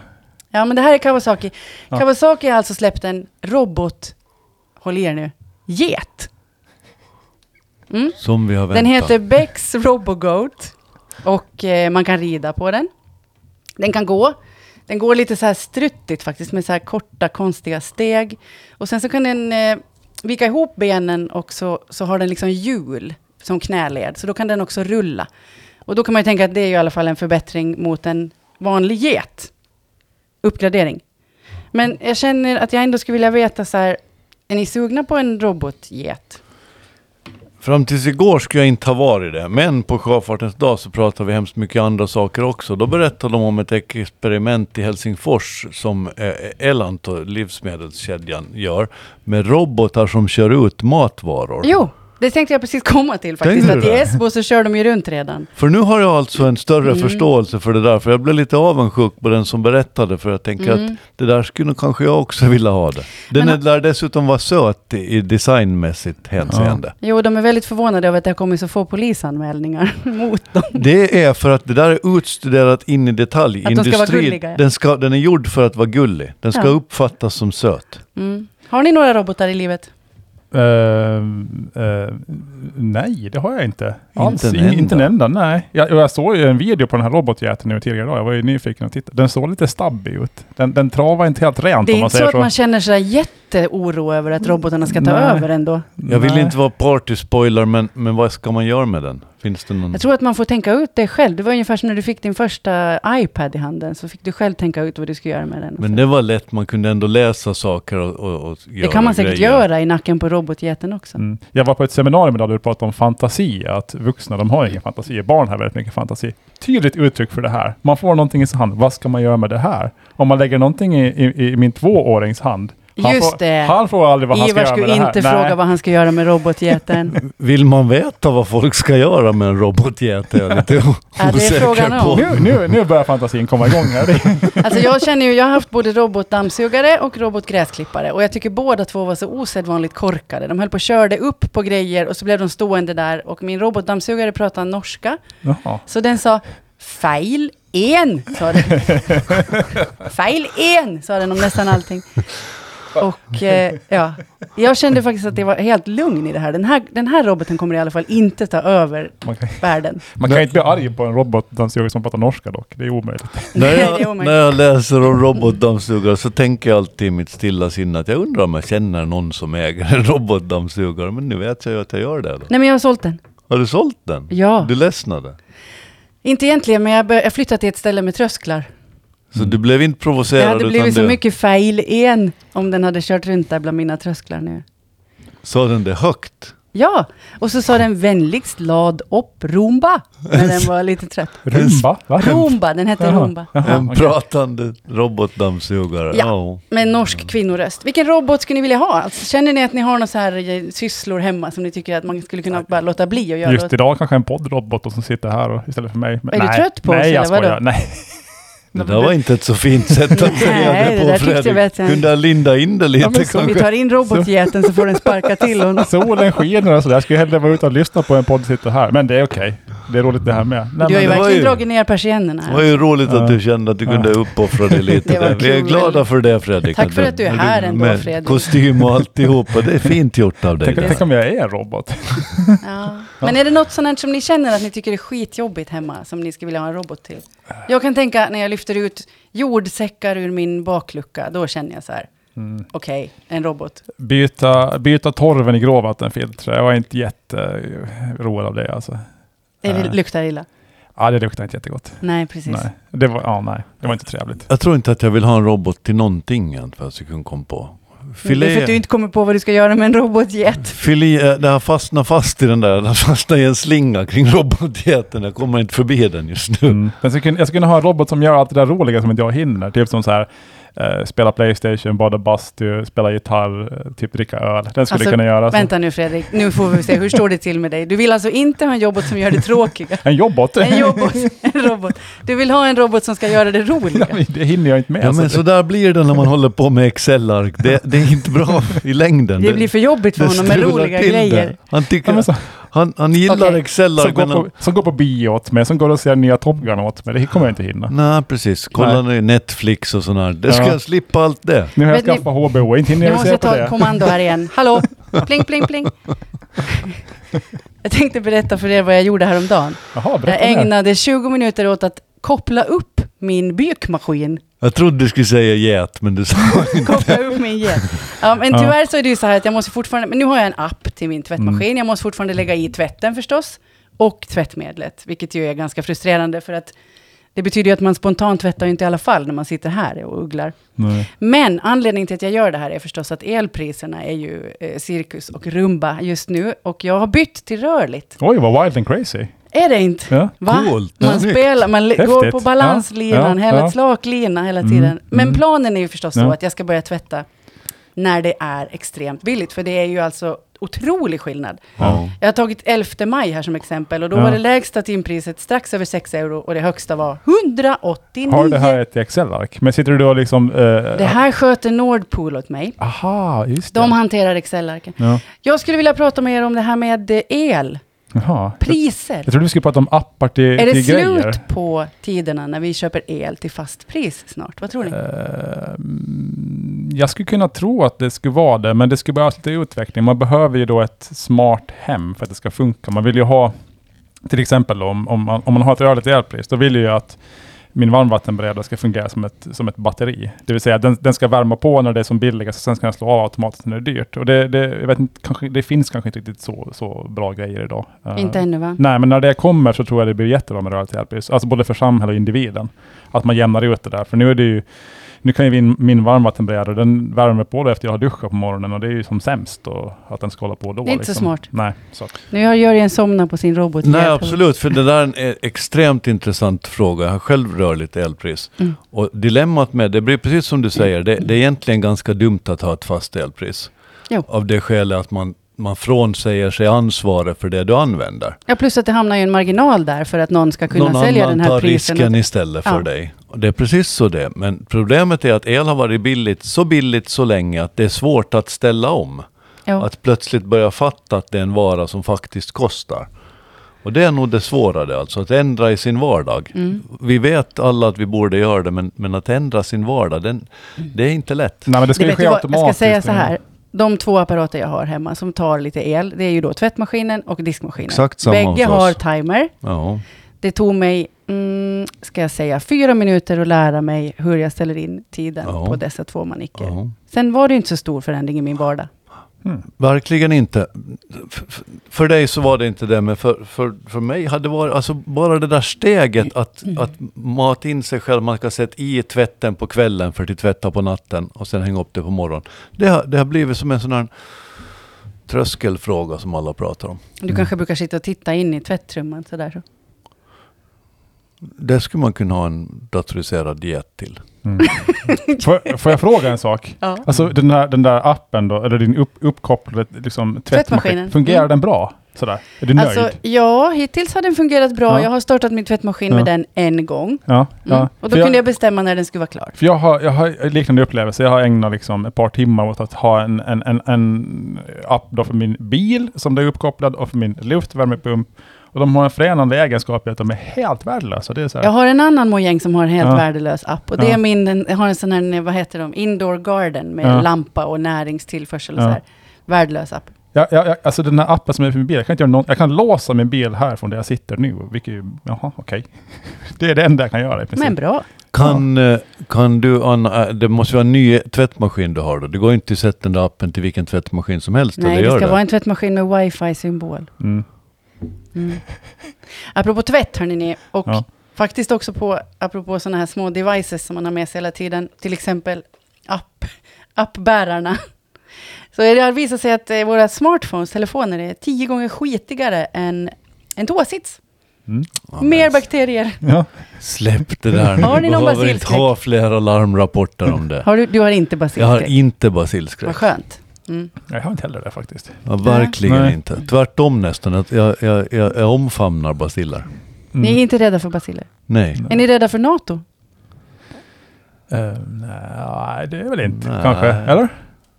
[SPEAKER 1] Ja, men det här är Kawasaki.
[SPEAKER 3] Ja.
[SPEAKER 1] Kawasaki har alltså släppt en robot... Håll i er nu. Get. Mm.
[SPEAKER 2] Som vi har väntat.
[SPEAKER 1] Den heter Becks Robogoat. Och eh, man kan rida på den. Den kan gå. Den går lite så här struttigt faktiskt, med så här korta konstiga steg. Och sen så kan den eh, vika ihop benen och så, så har den liksom hjul som knäled. Så då kan den också rulla. Och då kan man ju tänka att det är ju i alla fall en förbättring mot en vanlig get. Uppgradering. Men jag känner att jag ändå skulle vilja veta så här, är ni sugna på en robotget?
[SPEAKER 2] Fram tills igår skulle jag inte ha varit det, men på Sjöfartens dag så pratade vi hemskt mycket andra saker också. Då berättade de om ett experiment i Helsingfors som eh, Elanto, livsmedelskedjan, gör med robotar som kör ut matvaror.
[SPEAKER 1] Jo, det tänkte jag precis [laughs] komma till faktiskt.
[SPEAKER 2] Tänkte
[SPEAKER 1] Att
[SPEAKER 2] du
[SPEAKER 1] I
[SPEAKER 2] det?
[SPEAKER 1] Esbo så kör de ju runt redan.
[SPEAKER 2] För nu har jag alltså en
[SPEAKER 1] Mm.
[SPEAKER 2] större förståelse för det där, för jag blev lite avundsjuk på den som berättade, för jag tänker att det där skulle nog kanske jag också vilja ha det. Den
[SPEAKER 1] Mm. Men-
[SPEAKER 2] lär dessutom vara söt i i designmässigt hänseende.
[SPEAKER 1] Jo, de är väldigt förvånade över att det har kommit så få polisanmälningar [laughs] mot dem.
[SPEAKER 2] Det är för att det där är utstuderat in i detalj.
[SPEAKER 1] Att de ska vara gulliga, ja.
[SPEAKER 2] den, ska, den är gjord för att vara gullig. Den ska
[SPEAKER 1] Ja.
[SPEAKER 2] uppfattas som söt.
[SPEAKER 1] Mm. Har ni några robotar i livet?
[SPEAKER 3] Eh, eh, nej, det har jag inte. Alls.
[SPEAKER 2] en
[SPEAKER 3] Inte en enda. Inte en
[SPEAKER 2] enda.
[SPEAKER 3] enda nej. Jag, och jag såg ju en video på den här robotjäteln nu tidigare idag. Jag var ju nyfiken och tittade. Den såg lite stabbig ut. Den, den travar inte helt rent
[SPEAKER 1] Det är
[SPEAKER 3] om man
[SPEAKER 1] inte så
[SPEAKER 3] säger
[SPEAKER 1] att
[SPEAKER 3] så.
[SPEAKER 1] man känner sig jätteoro över att robotarna ska ta
[SPEAKER 3] Nej.
[SPEAKER 1] över ändå.
[SPEAKER 2] Jag vill
[SPEAKER 3] Nej.
[SPEAKER 2] inte vara party-spoiler, men, men vad ska man göra med den? Finns det någon...
[SPEAKER 1] Jag tror att man får tänka ut det själv. Det var ungefär som när du fick din första iPad i handen, så fick du själv tänka ut vad du skulle göra med den.
[SPEAKER 2] Men det var lätt, man kunde ändå läsa saker och, och, och
[SPEAKER 1] det kan man säkert göra i nacken på robotjätten också.
[SPEAKER 3] Mm. Jag var på ett seminarium idag där du pratade om fantasi, att vuxna de har ingen fantasi, barn har väldigt mycket fantasi. Tydligt uttryck för det här. Man får någonting i sin hand, vad ska man göra med det här? Om man lägger någonting i, i, i min tvåårings hand, han,
[SPEAKER 1] Just
[SPEAKER 3] får,
[SPEAKER 1] det.
[SPEAKER 3] han får aldrig vad han
[SPEAKER 1] Ivar
[SPEAKER 3] ska
[SPEAKER 1] skulle
[SPEAKER 3] göra med
[SPEAKER 1] inte
[SPEAKER 3] det här.
[SPEAKER 1] fråga vad han ska göra
[SPEAKER 3] [laughs]
[SPEAKER 1] med robotjätten.
[SPEAKER 2] Vill man veta vad folk ska göra med en robotjäte? Jag är lite
[SPEAKER 1] det är frågan
[SPEAKER 2] osäker
[SPEAKER 1] om.
[SPEAKER 2] på.
[SPEAKER 3] Nu, nu, nu börjar fantasin komma igång här. Det
[SPEAKER 1] [laughs]
[SPEAKER 3] är-
[SPEAKER 1] alltså jag känner ju, jag har haft både robotdammsugare och robotgräsklippare. Och jag tycker båda två var så osedvanligt korkade. De höll på och körde upp på grejer och så blev de stående där. Och min robotdammsugare pratade norska.
[SPEAKER 3] Jaha.
[SPEAKER 1] Så den sa fail en, sa den. fail en, sa den om nästan allting. Och eh, ja, jag kände faktiskt att det var helt lugn i det här. Den, här. den här roboten kommer i alla fall inte ta över
[SPEAKER 3] Man kan,
[SPEAKER 1] världen.
[SPEAKER 3] man kan inte bli arg på en robotdammsugare som pratar norska dock. Det är omöjligt.
[SPEAKER 2] När
[SPEAKER 1] Nej, det är
[SPEAKER 2] jag,
[SPEAKER 1] omöjligt.
[SPEAKER 2] när jag läser om robotdammsugare så tänker jag alltid i mitt stilla sinne att jag undrar om jag känner någon som äger en robotdammsugare. Men nu vet jag ju att jag gör det. Då.
[SPEAKER 1] Nej, men jag har sålt den.
[SPEAKER 2] Har du sålt den?
[SPEAKER 1] Ja.
[SPEAKER 2] Du ledsnade?
[SPEAKER 1] Inte egentligen, men jag, bör, jag flyttade till ett ställe med trösklar.
[SPEAKER 2] Så
[SPEAKER 3] Mm.
[SPEAKER 2] du blev inte
[SPEAKER 1] Det
[SPEAKER 2] provocerad?
[SPEAKER 1] hade blivit
[SPEAKER 2] utan
[SPEAKER 1] så
[SPEAKER 2] du-
[SPEAKER 1] mycket fail en om den hade kört runt där bland mina trösklar nu.
[SPEAKER 2] Sa den det högt?
[SPEAKER 1] Ja, och så sa den vänligst lad upp rumba, när den var lite trött.
[SPEAKER 2] [laughs]
[SPEAKER 3] Rumba? Va?
[SPEAKER 1] Rumba, den hette
[SPEAKER 3] Jaha.
[SPEAKER 1] rumba.
[SPEAKER 3] Jaha,
[SPEAKER 2] en
[SPEAKER 3] okej.
[SPEAKER 2] pratande robotdammsugare?
[SPEAKER 1] Ja. Med norsk kvinnoröst. Vilken robot skulle ni vilja ha? Alltså, känner ni att ni har några så här eh, sysslor hemma som ni tycker att man skulle kunna bara låta bli och göra?
[SPEAKER 3] Just
[SPEAKER 1] åt-
[SPEAKER 3] idag kanske en poddrobot och som sitter här och, istället för mig. Men
[SPEAKER 1] Är du
[SPEAKER 3] nej,
[SPEAKER 1] trött på oss,
[SPEAKER 3] Nej, jag
[SPEAKER 1] eller vadå?
[SPEAKER 3] skojar. Nej,
[SPEAKER 2] Det där var inte ett så fint sätt att
[SPEAKER 1] [laughs]
[SPEAKER 2] säga
[SPEAKER 1] Nej,
[SPEAKER 2] det
[SPEAKER 1] det där
[SPEAKER 2] på
[SPEAKER 1] tyckte jag
[SPEAKER 2] Fredrik.
[SPEAKER 1] vet jag inte.
[SPEAKER 2] Kunde jag linda in det lite
[SPEAKER 3] Ja, men så-
[SPEAKER 1] Om vi
[SPEAKER 2] kanske?
[SPEAKER 1] tar in robotjäten så får den sparka till honom.
[SPEAKER 3] Solen skiner och sådär. Jag skulle hellre vara ute och lyssna på en podd och sitta här. Men det är okej. Det är roligt det här med. Nej,
[SPEAKER 1] Du har ju
[SPEAKER 2] det var
[SPEAKER 1] verkligen
[SPEAKER 2] ju-
[SPEAKER 1] dragit ner persiennerna.
[SPEAKER 2] Det var
[SPEAKER 1] här.
[SPEAKER 2] ju roligt att
[SPEAKER 3] Ja.
[SPEAKER 2] du kände att du kunde uppoffra dig
[SPEAKER 1] [laughs]
[SPEAKER 2] lite.
[SPEAKER 1] Det var
[SPEAKER 2] där. Vi är
[SPEAKER 1] kul.
[SPEAKER 2] glada för det Fredrik.
[SPEAKER 1] Tack för att du är här ändå,
[SPEAKER 2] med
[SPEAKER 1] Fredrik.
[SPEAKER 2] Kostym och alltihopa. Det är fint gjort av dig.
[SPEAKER 3] tänk, tänk
[SPEAKER 2] Lena.
[SPEAKER 3] om jag är en robot.
[SPEAKER 1] Ja. Men är det något sånt här som ni känner att ni tycker är skitjobbigt hemma som ni skulle vilja ha en robot till? Jag kan tänka när jag lyfter ut jordsäckar ur min baklucka, då känner jag så här, okej, en robot.
[SPEAKER 3] Mm. Byta, byta torven i gråvattenfiltret. Jag var inte jätteroad av det alltså.
[SPEAKER 1] Är det
[SPEAKER 3] Ja.
[SPEAKER 1] luktar illa.
[SPEAKER 3] Ja, det luktar inte jättegott.
[SPEAKER 1] Nej, precis. Mm,
[SPEAKER 3] Nej. Det var, ja, nej. Det var inte trevligt.
[SPEAKER 2] Jag tror inte att jag vill ha en robot till någonting än för att jag kunde komma på.
[SPEAKER 1] Det är för att du
[SPEAKER 2] Filé,
[SPEAKER 1] inte kommer på vad du ska göra med en robotjet.
[SPEAKER 2] filé, eh, det har fastnat fast i den där. Det har fastnat i en slinga kring robotjätten. Jag kommer inte förbi den just nu.
[SPEAKER 3] Mm. Jag, skulle, kunna- jag skulle kunna ha en robot som gör allt det där roliga som inte jag hinner. Typ som så här, eh, spela Playstation, bada bastu, spela gitarr, eh, typ dricka öl. Den skulle
[SPEAKER 1] Alltså,
[SPEAKER 3] kunna göra. så.
[SPEAKER 1] Vänta nu Fredrik, nu får vi se, hur står det till med dig? Du vill alltså inte ha en robot som gör det tråkiga?
[SPEAKER 3] En jobbot. [laughs]
[SPEAKER 1] En, robot, en robot. Du vill ha en robot som ska göra det roliga?
[SPEAKER 3] det hinner jag inte med. alltså.
[SPEAKER 2] Ja,
[SPEAKER 3] så
[SPEAKER 2] men
[SPEAKER 3] det-
[SPEAKER 2] så där blir det när man håller på med Excel-ark. Det, det är inte bra i längden.
[SPEAKER 1] Det blir för jobbigt för
[SPEAKER 2] det
[SPEAKER 1] honom med
[SPEAKER 2] strular
[SPEAKER 1] roliga
[SPEAKER 2] till det.
[SPEAKER 1] grejer.
[SPEAKER 2] Han,
[SPEAKER 3] Ja, men
[SPEAKER 2] tycker,
[SPEAKER 3] så-
[SPEAKER 2] han, han gillar
[SPEAKER 1] Okej.
[SPEAKER 2] Excel-ark.
[SPEAKER 3] Som går,
[SPEAKER 2] men han-
[SPEAKER 3] på, som går på bio åt mig, som går och ser nya Top Gun åt mig. Det kommer jag inte
[SPEAKER 1] Mm.
[SPEAKER 3] hinna.
[SPEAKER 2] Nej, precis. Kolla nu Netflix och sådär. Det ska
[SPEAKER 3] Ja.
[SPEAKER 2] jag slippa allt det.
[SPEAKER 3] Nu har jag
[SPEAKER 1] Vet ni-
[SPEAKER 3] skaffat HBO, inte hinner
[SPEAKER 1] Nu
[SPEAKER 3] jag
[SPEAKER 1] måste
[SPEAKER 3] se
[SPEAKER 1] jag
[SPEAKER 3] på det.
[SPEAKER 1] ta kommando här
[SPEAKER 3] [laughs]
[SPEAKER 1] igen. Hallå, pling, pling, pling. Jag tänkte berätta för er vad jag gjorde häromdagen.
[SPEAKER 3] Jaha,
[SPEAKER 1] Jag
[SPEAKER 3] berätta mer.
[SPEAKER 1] ägnade 20 minuter åt att koppla upp min
[SPEAKER 3] [laughs]
[SPEAKER 1] bykmaskin.
[SPEAKER 2] Jag trodde du skulle säga get, men du sa...
[SPEAKER 1] koppla upp min jet. Ja, men
[SPEAKER 3] Ja. Mm.
[SPEAKER 1] tyvärr så är det ju så här att jag måste fortfarande, men nu har jag en app till min tvättmaskin, jag måste fortfarande lägga i tvätten förstås, och tvättmedlet, vilket ju är ganska frustrerande för att Det betyder ju att man spontant tvättar ju inte i alla fall när man sitter här och ugglar.
[SPEAKER 3] Nej.
[SPEAKER 1] Men anledningen till att jag gör det här är förstås att elpriserna är ju eh, cirkus och rumba just nu. Och jag har bytt till rörligt.
[SPEAKER 3] Oj, vad wild and crazy.
[SPEAKER 1] Är det inte?
[SPEAKER 3] Ja.
[SPEAKER 1] Va?
[SPEAKER 2] Coolt.
[SPEAKER 1] Man
[SPEAKER 2] Snyggt.
[SPEAKER 1] spelar, man li-
[SPEAKER 3] Häftigt.
[SPEAKER 1] går på balanslinan,
[SPEAKER 3] Ja,
[SPEAKER 1] hela
[SPEAKER 3] ja.
[SPEAKER 1] ett slaklina hela
[SPEAKER 3] Mm,
[SPEAKER 1] tiden.
[SPEAKER 3] mm.
[SPEAKER 1] Men planen är ju förstås så
[SPEAKER 3] Ja.
[SPEAKER 1] att jag ska börja tvätta när det är extremt billigt, för det är ju alltså otrolig skillnad.
[SPEAKER 2] Ja.
[SPEAKER 1] Jag har tagit 11 maj här som exempel och då
[SPEAKER 3] Ja.
[SPEAKER 1] var det lägsta timpriset strax över 6 euro och det högsta var 189.
[SPEAKER 3] Har du det här i ett Excel-ark? Men sitter du då liksom... eh,
[SPEAKER 1] det här sköter Nordpool åt mig.
[SPEAKER 3] Aha, just
[SPEAKER 1] De
[SPEAKER 3] det.
[SPEAKER 1] hanterar Excel-arken.
[SPEAKER 3] Ja.
[SPEAKER 1] Jag skulle vilja prata med er om det här med eh, el,
[SPEAKER 3] Jaha.
[SPEAKER 1] priser.
[SPEAKER 3] Jag trodde vi skulle prata om appar till,
[SPEAKER 1] Är det
[SPEAKER 3] till grejer.
[SPEAKER 1] slut på tiderna när vi köper el till fast pris snart? Vad tror ni?
[SPEAKER 3] Eh, mm, Jag skulle kunna tro att det skulle vara det, men det skulle behövas lite utveckling. Man behöver ju då ett smart hem för att det ska funka. Man vill ju ha, till exempel då, om, om, man, om man har ett rörligt elpris, då vill jag ju att min varmvattenberedare ska fungera som ett, som ett batteri. Det vill säga den, den ska värma på när det är som billigast och sen ska den slå av automatiskt när det är dyrt. Och det, det, jag vet inte, kanske, det finns kanske inte riktigt så, så bra grejer idag. Eh,
[SPEAKER 1] Inte ännu va?
[SPEAKER 3] Nej, men när det kommer så tror jag det blir jättebra med rörligt hjälppris. Alltså både för samhället och individen. Att man jämnar ut det där. För nu är det ju... Nu kan ju min, min varmvattenberedare, den värmer på då efter jag har duschat på morgonen och det är ju som sämst då, att den ska hålla på då. liksom.
[SPEAKER 1] Det är inte så smart.
[SPEAKER 3] Nej, så att,
[SPEAKER 1] Nu har Jörgen somnat på sin robot.
[SPEAKER 2] Nej, absolut. För det där är en eh, extremt intressant fråga. Jag har själv rörligt elpris.
[SPEAKER 1] Mm.
[SPEAKER 2] Och dilemmat med det blir precis som du säger. Det, det är egentligen ganska dumt att ha ett fast elpris.
[SPEAKER 1] Jo.
[SPEAKER 2] Av det skälet att man, man frånsäger sig ansvaret för det du använder.
[SPEAKER 1] Ja, plus att det hamnar ju en marginal där för att någon ska kunna
[SPEAKER 2] Någon
[SPEAKER 1] sälja
[SPEAKER 2] annan
[SPEAKER 1] den här
[SPEAKER 2] tar
[SPEAKER 1] prisen.
[SPEAKER 2] risken istället för
[SPEAKER 1] Ja.
[SPEAKER 2] dig. Och det är precis så det är. Men problemet är att el har varit billigt, så billigt så länge att det är svårt att ställa om.
[SPEAKER 1] Ja.
[SPEAKER 2] Att plötsligt börja fatta att det är en vara som faktiskt kostar. Och det är nog det svårare, alltså att ändra i sin vardag.
[SPEAKER 1] Mm.
[SPEAKER 2] Vi vet alla att vi borde göra det, men, men att ändra sin vardag, den,
[SPEAKER 1] Mm.
[SPEAKER 2] det är inte lätt.
[SPEAKER 3] nej, men det ska
[SPEAKER 1] Det
[SPEAKER 3] ju
[SPEAKER 1] vet du
[SPEAKER 3] ske
[SPEAKER 1] vad,
[SPEAKER 3] automatiskt.
[SPEAKER 1] jag ska säga så här. De två apparater jag har hemma som tar lite el, det är ju då tvättmaskinen och diskmaskinen.
[SPEAKER 2] Exakt samma
[SPEAKER 1] Bägge
[SPEAKER 2] hos oss.
[SPEAKER 1] har timer.
[SPEAKER 2] Ja.
[SPEAKER 1] Det tog mig, mm, ska jag säga, fyra minuter att lära mig hur jag ställer in tiden
[SPEAKER 2] Ja.
[SPEAKER 1] på dessa två manicker.
[SPEAKER 2] ja.
[SPEAKER 1] Sen var det ju inte så stor förändring
[SPEAKER 3] Ah.
[SPEAKER 1] i min vardag.
[SPEAKER 3] Mm,
[SPEAKER 2] Verkligen inte. F- f- För dig så var det inte det, men för, för, för mig hade det varit, alltså bara det där
[SPEAKER 1] Mm.
[SPEAKER 2] steget att, att mata in sig själv, man ska sätta i tvätten på kvällen för att tvätta på natten och sen hänga upp det på morgonen. Det har, det har blivit som en sån här tröskelfråga som alla pratar om.
[SPEAKER 1] Du
[SPEAKER 3] Mm.
[SPEAKER 1] kanske brukar sitta och titta in i tvättrummet sådär. Så.
[SPEAKER 2] Det skulle man kunna ha en datoriserad diet till.
[SPEAKER 3] Mm. får, får jag fråga en sak?
[SPEAKER 1] Ja.
[SPEAKER 3] Alltså den där, den där appen då, eller din upp, uppkopplade liksom, tvättmaskin,
[SPEAKER 1] Tvättmaskinen.
[SPEAKER 3] fungerar
[SPEAKER 1] Mm.
[SPEAKER 3] den bra? Sådär. Är du nöjd?
[SPEAKER 1] Alltså, ja, hittills har den fungerat bra.
[SPEAKER 3] Ja.
[SPEAKER 1] Jag har startat min tvättmaskin
[SPEAKER 3] Ja.
[SPEAKER 1] med den en gång. Mm.
[SPEAKER 3] ja, ja.
[SPEAKER 1] Och
[SPEAKER 3] För
[SPEAKER 1] då kunde jag bestämma när den skulle vara klar.
[SPEAKER 3] För jag har, jag har liknande upplevelser. Jag har ägnat liksom ett par timmar åt att ha en, en, en, en app då för min bil som det är uppkopplad och för min luftvärmepump. Och de har en förenande egenskap i att de är helt värdelösa. Det är så här,
[SPEAKER 1] Jag har en annan mojäng som har en helt
[SPEAKER 3] Ja.
[SPEAKER 1] värdelös app. Och det
[SPEAKER 3] Ja.
[SPEAKER 1] är min, den- jag har en sån här, vad heter de, indoor garden med
[SPEAKER 3] Ja.
[SPEAKER 1] lampa och näringstillförsel och
[SPEAKER 3] Ja.
[SPEAKER 1] så här. Värdelös app.
[SPEAKER 3] jag, jag, jag, alltså den här appen som är för min bil, jag kan, inte göra någon, jag kan låsa min bil här från där jag sitter nu. Vilket, ju- jaha, okej. [laughs] Det är det enda jag kan göra i princip.
[SPEAKER 1] Men bra.
[SPEAKER 2] Kan, eh, kan du, Anna, eh, det måste vara en ny tvättmaskin du har då? Det går inte att sätta den där appen till vilken tvättmaskin som helst,
[SPEAKER 1] Nej,
[SPEAKER 2] eller
[SPEAKER 1] det
[SPEAKER 2] gör
[SPEAKER 1] ska
[SPEAKER 2] det?
[SPEAKER 1] vara en tvättmaskin med wifi-symbol.
[SPEAKER 3] Mm.
[SPEAKER 1] Mm. apropå tvätt, hörni ni, och
[SPEAKER 3] Ja.
[SPEAKER 1] faktiskt också på, apropå sådana här små devices som man har med sig hela tiden, till exempel app, appbärarna. [laughs] Så det har visat sig att eh, våra smartphones, telefoner, är tio gånger skitigare än en toasits.
[SPEAKER 3] Mm.
[SPEAKER 2] Ja,
[SPEAKER 1] Mer bakterier.
[SPEAKER 3] Ja.
[SPEAKER 2] Släpp det där nu.
[SPEAKER 1] Har ni
[SPEAKER 2] Vi
[SPEAKER 1] någon
[SPEAKER 2] behöver
[SPEAKER 1] basilskräck?
[SPEAKER 2] inte ha flera larmrapporter om det.
[SPEAKER 1] Har du, du har inte
[SPEAKER 2] Jag har
[SPEAKER 1] basilskräck?
[SPEAKER 2] inte
[SPEAKER 1] Vad
[SPEAKER 2] basilskräck.
[SPEAKER 1] skönt. Mm.
[SPEAKER 3] Jag har inte heller det faktiskt.
[SPEAKER 2] Ja, verkligen
[SPEAKER 3] Nej.
[SPEAKER 2] inte. Tvärtom nästan. att Jag, jag, jag, jag omfamnar basiller.
[SPEAKER 3] Mm.
[SPEAKER 1] Ni är inte rädda för basiller?
[SPEAKER 2] Nej.
[SPEAKER 1] Är ni rädda för NATO?
[SPEAKER 3] Eh, nej, det är väl inte
[SPEAKER 2] Nej.
[SPEAKER 3] kanske. Eller?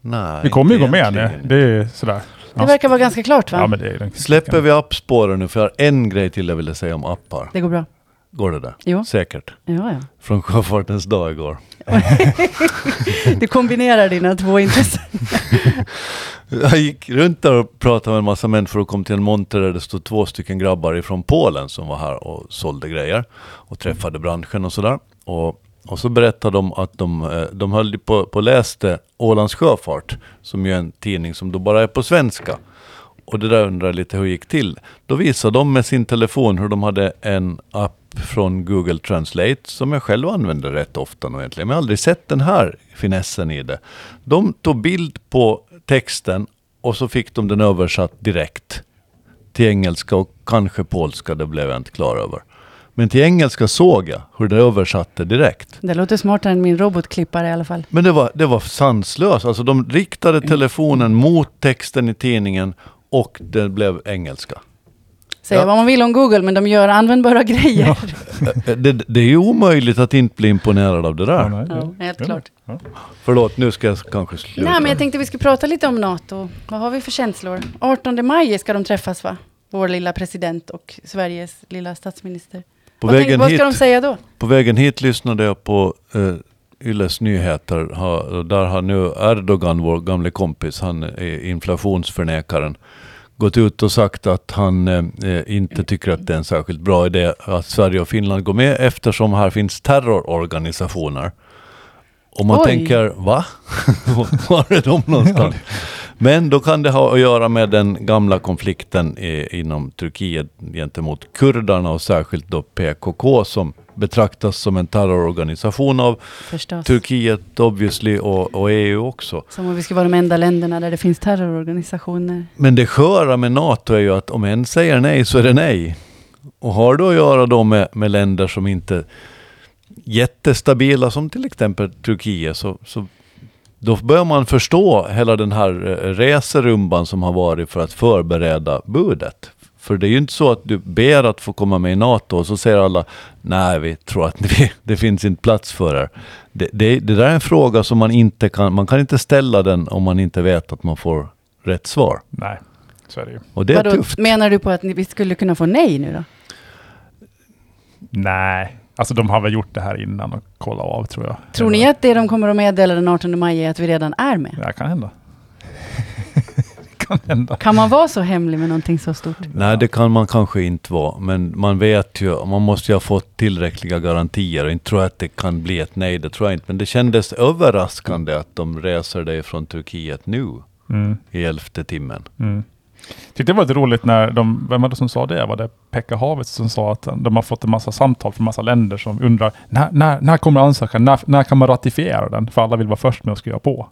[SPEAKER 2] Nej.
[SPEAKER 3] Vi kommer ju gå
[SPEAKER 2] inte
[SPEAKER 3] med nu.
[SPEAKER 2] egentligen.
[SPEAKER 3] Det är ju sådär.
[SPEAKER 1] Det verkar vara ganska klart, va?
[SPEAKER 3] Ja, men det är ju-
[SPEAKER 2] Släpper vi appspåren nu? För jag har en grej till jag ville säga om appar.
[SPEAKER 1] Det går bra.
[SPEAKER 2] Går det där?
[SPEAKER 1] Jo.
[SPEAKER 2] Säkert.
[SPEAKER 1] Ja, ja.
[SPEAKER 2] Från Sjöfartens dag igår.
[SPEAKER 1] Du kombinerar dina två intressen.
[SPEAKER 2] Jag gick runt där och pratade med en massa människor och kom till en monter där det stod två stycken grabbar ifrån Polen som var här och sålde grejer och träffade branschen och sådär. Och, och så berättade de att de, eh, de höll på, på och läste Ålands Sjöfart, som ju är en tidning som då bara är på svenska. Och det där undrar jag lite hur det gick till. Då visade de med sin telefon hur de hade en app app från Google Translate som jag själv använder rätt ofta nog egentligen. Men jag har aldrig sett den här finessen i det. De tog bild på texten och så fick de den översatt direkt till engelska och kanske polska, det blev jag inte klar över. Men till engelska såg jag hur det översatte direkt.
[SPEAKER 1] Det låter smartare än min robotklippare i alla fall.
[SPEAKER 2] Men det var, det var sanslöst. Alltså de riktade telefonen mot texten i tidningen och det blev engelska.
[SPEAKER 1] Säga
[SPEAKER 2] Ja.
[SPEAKER 1] vad man vill om Google, men de gör användbara [laughs] grejer. Ja,
[SPEAKER 2] Eh, Det, det är ju omöjligt att inte bli imponerad av det där.
[SPEAKER 3] nej, det-
[SPEAKER 1] helt
[SPEAKER 3] det-
[SPEAKER 1] klart.
[SPEAKER 3] ja.
[SPEAKER 2] Förlåt, nu ska jag kanske sluta.
[SPEAKER 1] Nej, men jag tänkte vi skulle prata lite om NATO. Vad har vi för känslor? 18 maj ska de träffas, va? Vår lilla president och Sveriges lilla statsminister.
[SPEAKER 2] på,
[SPEAKER 1] vad, tänk-
[SPEAKER 2] vägen
[SPEAKER 1] vad
[SPEAKER 2] hit,
[SPEAKER 1] ska de säga då?
[SPEAKER 2] på vägen hit lyssnade jag på eh, Yles nyheter. Ha, och där har nu Erdogan, vår gamle kompis, han är inflationsförnekaren, gått ut och sagt att han eh, eh, inte tycker att det är en särskilt bra idé att Sverige och Finland går med eftersom här finns terrororganisationer. Och man
[SPEAKER 1] Oj.
[SPEAKER 2] tänker, va? [laughs] Var är de någonstans? Men då kan det ha att göra med den gamla konflikten i, inom Turkiet gentemot kurderna och särskilt då PKK som betraktas som en terrororganisation av
[SPEAKER 1] Förstås.
[SPEAKER 2] Turkiet obviously och, och EU också.
[SPEAKER 1] Som om vi skulle vara de enda länderna där det finns terrororganisationer.
[SPEAKER 2] Men det sköra med NATO är ju att om en säger nej så är det nej. Och har då att göra då med, med länder som inte är jättestabila som till exempel Turkiet så, så då börjar man förstå hela den här eh, reserumban som har varit för att förbereda budet. För det är ju inte så att du ber att få komma med i NATO och så säger alla nej, vi tror att vi, [laughs] det finns inte plats för er. Det, det, det där är en fråga som man inte kan, man kan inte ställa den om man inte vet att man får rätt svar.
[SPEAKER 3] Nej, så är det ju.
[SPEAKER 2] Och det är
[SPEAKER 1] Vadå,
[SPEAKER 2] tufft.
[SPEAKER 1] Menar du på att ni, vi skulle kunna få nej nu då?
[SPEAKER 3] Nej, alltså de har väl gjort det här innan och kollat av tror jag.
[SPEAKER 1] Tror ni
[SPEAKER 3] Eller-
[SPEAKER 1] att det de kommer att meddela den 18 maj är att vi redan är med?
[SPEAKER 3] Det här kan hända. [laughs] det kan hända.
[SPEAKER 1] Kan man vara så hemlig med någonting så stort?
[SPEAKER 2] Nej, det kan man kanske inte vara. Men man vet ju, man måste ju ha fått tillräckliga garantier. Och inte tror jag att det kan bli ett nej, det tror jag inte. Men det kändes överraskande att de reser dig från Turkiet nu
[SPEAKER 3] Mm,
[SPEAKER 2] i elfte timmen.
[SPEAKER 3] mm. Tyckte det var lite roligt när de, vem var det som sa det? Var det Pekka Havet som sa att de har fått en massa samtal från massa länder som undrar när, när, när kommer ansökan? När, när kan man ratifiera den? För alla vill vara först med att skriva på.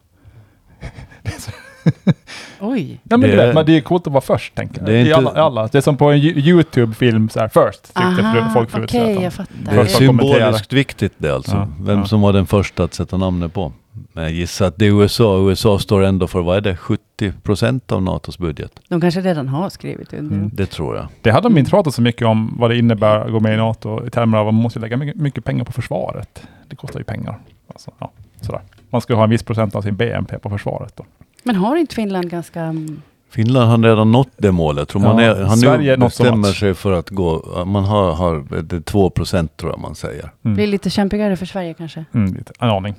[SPEAKER 1] Oj.
[SPEAKER 3] Ja, men
[SPEAKER 2] Det-
[SPEAKER 3] det, men det är coolt att vara först, tänker jag.
[SPEAKER 2] Det är
[SPEAKER 3] Det är,
[SPEAKER 2] inte-
[SPEAKER 3] alla, alla. Det är som på en Yo- YouTube-film, så här, först, tyckte
[SPEAKER 1] Aha,
[SPEAKER 3] folk förut.
[SPEAKER 1] Okej,
[SPEAKER 3] att de-
[SPEAKER 1] jag fattar.
[SPEAKER 2] Det är
[SPEAKER 3] Först att kommentera.
[SPEAKER 2] symboliskt viktigt det alltså.
[SPEAKER 3] Ja,
[SPEAKER 2] Vem
[SPEAKER 3] ja.
[SPEAKER 2] som var den första att sätta namnet på. Men jag gissar att det är USA. USA står ändå för, vad är det, 70 procent av NATOs budget?
[SPEAKER 1] De kanske redan har skrivit under.
[SPEAKER 3] Mm.
[SPEAKER 2] Det tror jag.
[SPEAKER 3] Det hade de inte pratat så mycket om, vad det innebär att gå med i NATO i termer av att man måste lägga mycket, mycket pengar på försvaret. Det kostar ju pengar. Alltså, ja, sådär. Man ska ha en viss procent av sin BNP på försvaret. Då.
[SPEAKER 1] Men har inte Finland ganska... mm,
[SPEAKER 2] Finland har redan nått det målet. Tror man
[SPEAKER 3] Ja,
[SPEAKER 2] är, han
[SPEAKER 3] Sverige
[SPEAKER 2] nu
[SPEAKER 3] är något som
[SPEAKER 2] bestämmer
[SPEAKER 3] nått.
[SPEAKER 2] sig för att gå, man har, har det är 2 procent tror jag man säger.
[SPEAKER 1] Blir lite kämpigare för Sverige kanske?
[SPEAKER 3] Mm, lite, en aning.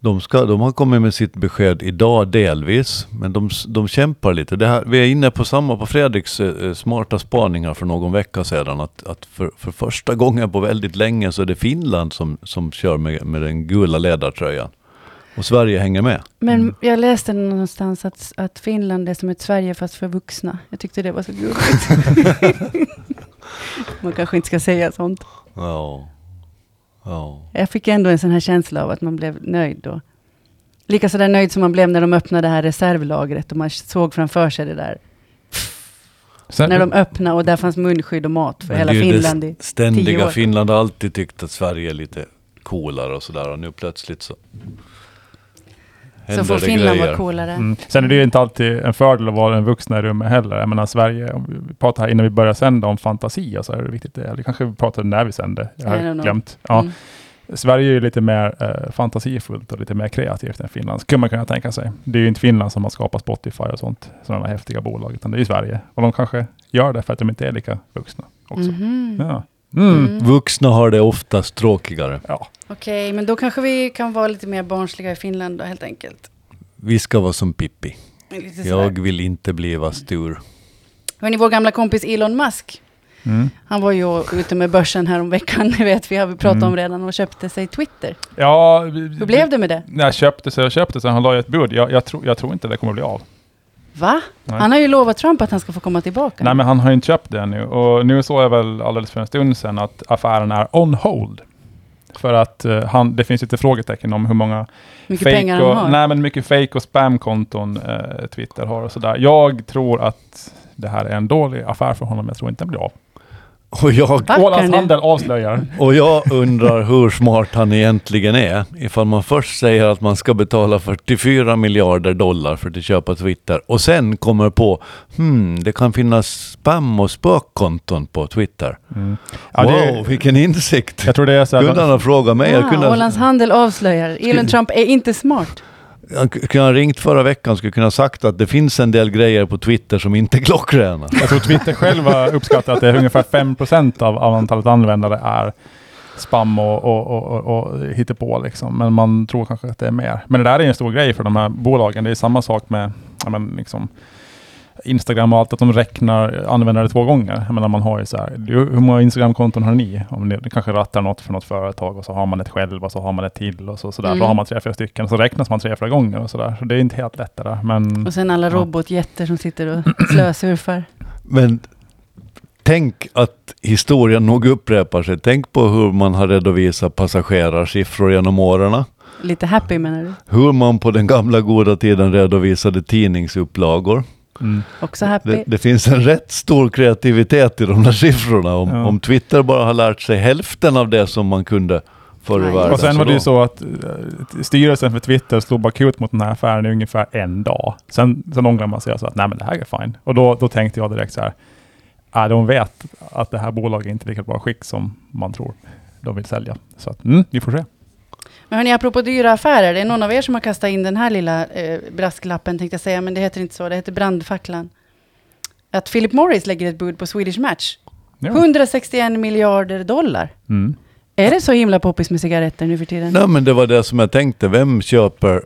[SPEAKER 2] De, ska, de har kommit med sitt besked idag delvis, men de, s- de kämpar lite. Det här, vi är inne på samma, på Fredriks eh, eh, smarta spaningar för någon vecka sedan, att, att för, för första gången på väldigt länge så är det Finland som, som kör med, med den gula ledartröjan. Och Sverige hänger med.
[SPEAKER 1] Men
[SPEAKER 2] Mm.
[SPEAKER 1] jag läste någonstans att, att Finland är som ett Sverige fast för vuxna. Jag tyckte det var så gulligt.
[SPEAKER 2] [laughs]
[SPEAKER 1] man kanske inte ska säga sånt.
[SPEAKER 2] Ja. Ja.
[SPEAKER 1] Jag fick ändå en sån här känsla av att man blev nöjd då. Lika sådär nöjd som man blev när de öppnade det här reservlagret och man såg framför sig det där.
[SPEAKER 3] Sen,
[SPEAKER 1] När de öppnade och där fanns munskydd och mat för
[SPEAKER 2] Men
[SPEAKER 1] hela
[SPEAKER 2] det är ju
[SPEAKER 1] Finland.
[SPEAKER 2] Det
[SPEAKER 1] i
[SPEAKER 2] st- ständiga
[SPEAKER 1] år.
[SPEAKER 2] Finland har alltid tyckt att Sverige är lite coolare och sådär och nu plötsligt så händer
[SPEAKER 1] Så får
[SPEAKER 2] det
[SPEAKER 1] Finland
[SPEAKER 2] grejer.
[SPEAKER 1] vara coolare.
[SPEAKER 3] Mm. Sen är det ju inte alltid en fördel att vara en vuxen i rummet heller. Jag menar Sverige, om vi pratar här innan vi börjar sända om fantasi och så här, hur viktigt det är. Eller kanske vi pratade när vi sände. Jag
[SPEAKER 1] I don't
[SPEAKER 3] har
[SPEAKER 1] know.
[SPEAKER 3] glömt. Ja.
[SPEAKER 1] Mm.
[SPEAKER 3] Sverige är ju lite mer eh, fantasifullt och lite mer kreativt än Finland, skulle man kunna tänka sig. Det är ju inte Finland som har skapat Spotify och sånt, sådana häftiga bolag, utan det är ju Sverige. Och de kanske gör det för att de inte är lika vuxna också.
[SPEAKER 1] Mhm.
[SPEAKER 3] Ja. Mm.
[SPEAKER 1] Mm.
[SPEAKER 2] Vuxna har det oftast tråkigare.
[SPEAKER 3] Ja.
[SPEAKER 1] Okej, men då kanske vi kan vara lite mer barnsliga i Finland då, helt enkelt.
[SPEAKER 2] Vi ska vara som Pippi.
[SPEAKER 1] Lite sådär.
[SPEAKER 2] Jag vill inte bliva stor.
[SPEAKER 1] Hörni, vår gamla kompis Elon Musk,
[SPEAKER 3] Mm.
[SPEAKER 1] han var ju ute med börsen här om veckan, [laughs] ni vet, vi har vi pratat
[SPEAKER 3] Mm.
[SPEAKER 1] om redan, och köpte sig Twitter.
[SPEAKER 3] ja
[SPEAKER 1] Hur blev det med det?
[SPEAKER 3] Jag köpte så jag köpte så han la ju ett bud. Jag, jag, tror- jag tror inte det kommer bli av.
[SPEAKER 1] Va?
[SPEAKER 3] Nej.
[SPEAKER 1] Han har ju lovat Trump att han ska få komma tillbaka.
[SPEAKER 3] Nej, men han har ju inte köpt det ännu. Och nu såg jag väl alldeles för en stund sedan att affären är on hold. För att eh, han, det finns lite frågetecken om hur många
[SPEAKER 1] Mycket
[SPEAKER 3] fake
[SPEAKER 1] pengar
[SPEAKER 3] och,
[SPEAKER 1] han har.
[SPEAKER 3] Nej, men mycket fake och spamkonton eh, Twitter har och sådär. Jag tror att det här är en dålig affär för honom. Jag tror inte den blir av.
[SPEAKER 2] Och jag,
[SPEAKER 1] Backar
[SPEAKER 3] Ålands
[SPEAKER 1] nu.
[SPEAKER 3] Handel avslöjar.
[SPEAKER 2] och jag undrar hur smart han egentligen är. Ifall man först säger att man ska betala 44 miljarder dollar för att köpa Twitter och sen kommer på hmm, det kan finnas spam och spökkonton på Twitter.
[SPEAKER 3] Ja,
[SPEAKER 2] wow,
[SPEAKER 3] det-
[SPEAKER 2] vilken insikt!
[SPEAKER 3] Jag tror det är så
[SPEAKER 2] Kunde han
[SPEAKER 3] här,
[SPEAKER 2] ha frågat mig? Jag
[SPEAKER 1] Wow,
[SPEAKER 2] kunde, ha-
[SPEAKER 1] Ah, Ålands Handel avslöjar. Elin Trump är inte smart.
[SPEAKER 2] han k- kunde ha ringt förra veckan skulle kunna ha sagt att det finns en del grejer på Twitter som inte är klockrena.
[SPEAKER 3] jag tror Twitter själva uppskattar att det är ungefär 5% av, av antalet användare är spam och, och, och, och, och hittepå liksom. Men man tror kanske att det är mer. Men det där är en stor grej för de här bolagen. Det är samma sak med ja, men liksom Instagram och allt, att de räknar användare två gånger. Jag menar man har ju så här, du, hur många Instagram-konton har ni? Om ni, ni kanske rattar något för något företag och så har man ett själv och så har man ett till och så, så där.
[SPEAKER 1] Mm.
[SPEAKER 3] Då har man tre, fyra stycken och så räknas man tre, fyra gånger och så där. Så det är inte helt lätt det där. Men
[SPEAKER 1] Och sen alla
[SPEAKER 3] Ja.
[SPEAKER 1] robotjätter som sitter och [clears throat] slösurfar.
[SPEAKER 2] Men tänk att historien nog upprepar sig. Tänk på hur man har redovisat passagerarsiffror genom åren.
[SPEAKER 1] Lite happy menar du?
[SPEAKER 2] Hur man på den gamla goda tiden redovisade tidningsupplagor.
[SPEAKER 3] mm.
[SPEAKER 1] Också happy?
[SPEAKER 2] Det, det finns en rätt stor kreativitet i de där siffrorna. Om,
[SPEAKER 3] Ja.
[SPEAKER 2] om Twitter bara har lärt sig hälften av det som man kunde förr i
[SPEAKER 1] Nej.
[SPEAKER 2] världen.
[SPEAKER 3] Och sen var det ju
[SPEAKER 2] då-
[SPEAKER 3] så att eh, styrelsen för Twitter slog bakut mot den här affären i ungefär en dag. Sen, sen ångrade man sig och sa att nej men det här är fine. Och då, då tänkte jag direkt så här, äh, de vet att det här bolaget är inte är lika bra skick som man tror de vill sälja. Så att, mm, vi får se.
[SPEAKER 1] Men hörni, apropå dyra affärer, det är någon av er som har kastat in den här lilla eh, brasklappen, tänkte jag säga, men det heter inte så, det heter brandfacklan. Att Philip Morris lägger ett bud på Swedish Match.
[SPEAKER 3] Ja.
[SPEAKER 1] 161 miljarder dollar.
[SPEAKER 3] Mm.
[SPEAKER 1] Är det så himla poppis med cigaretter nu för tiden?
[SPEAKER 2] Nej men det var det som jag tänkte. Vem köper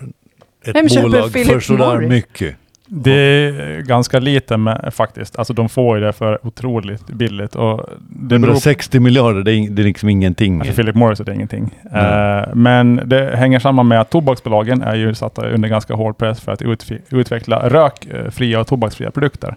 [SPEAKER 2] ett
[SPEAKER 1] Vem köper
[SPEAKER 2] bolag
[SPEAKER 1] Philip
[SPEAKER 2] för sådär
[SPEAKER 1] Morris?
[SPEAKER 2] mycket?
[SPEAKER 3] Det är ganska lite med, faktiskt. Alltså de får ju det för otroligt billigt. Och det beror på-
[SPEAKER 2] 160 miljarder, det är, ing- det är liksom ingenting.
[SPEAKER 3] Alltså Philip Morris är det ingenting.
[SPEAKER 2] Nej.
[SPEAKER 3] Eh, men det hänger samman med att tobaksbolagen är ju satta under ganska hård press för att utfi- utveckla rökfria och tobaksfria produkter.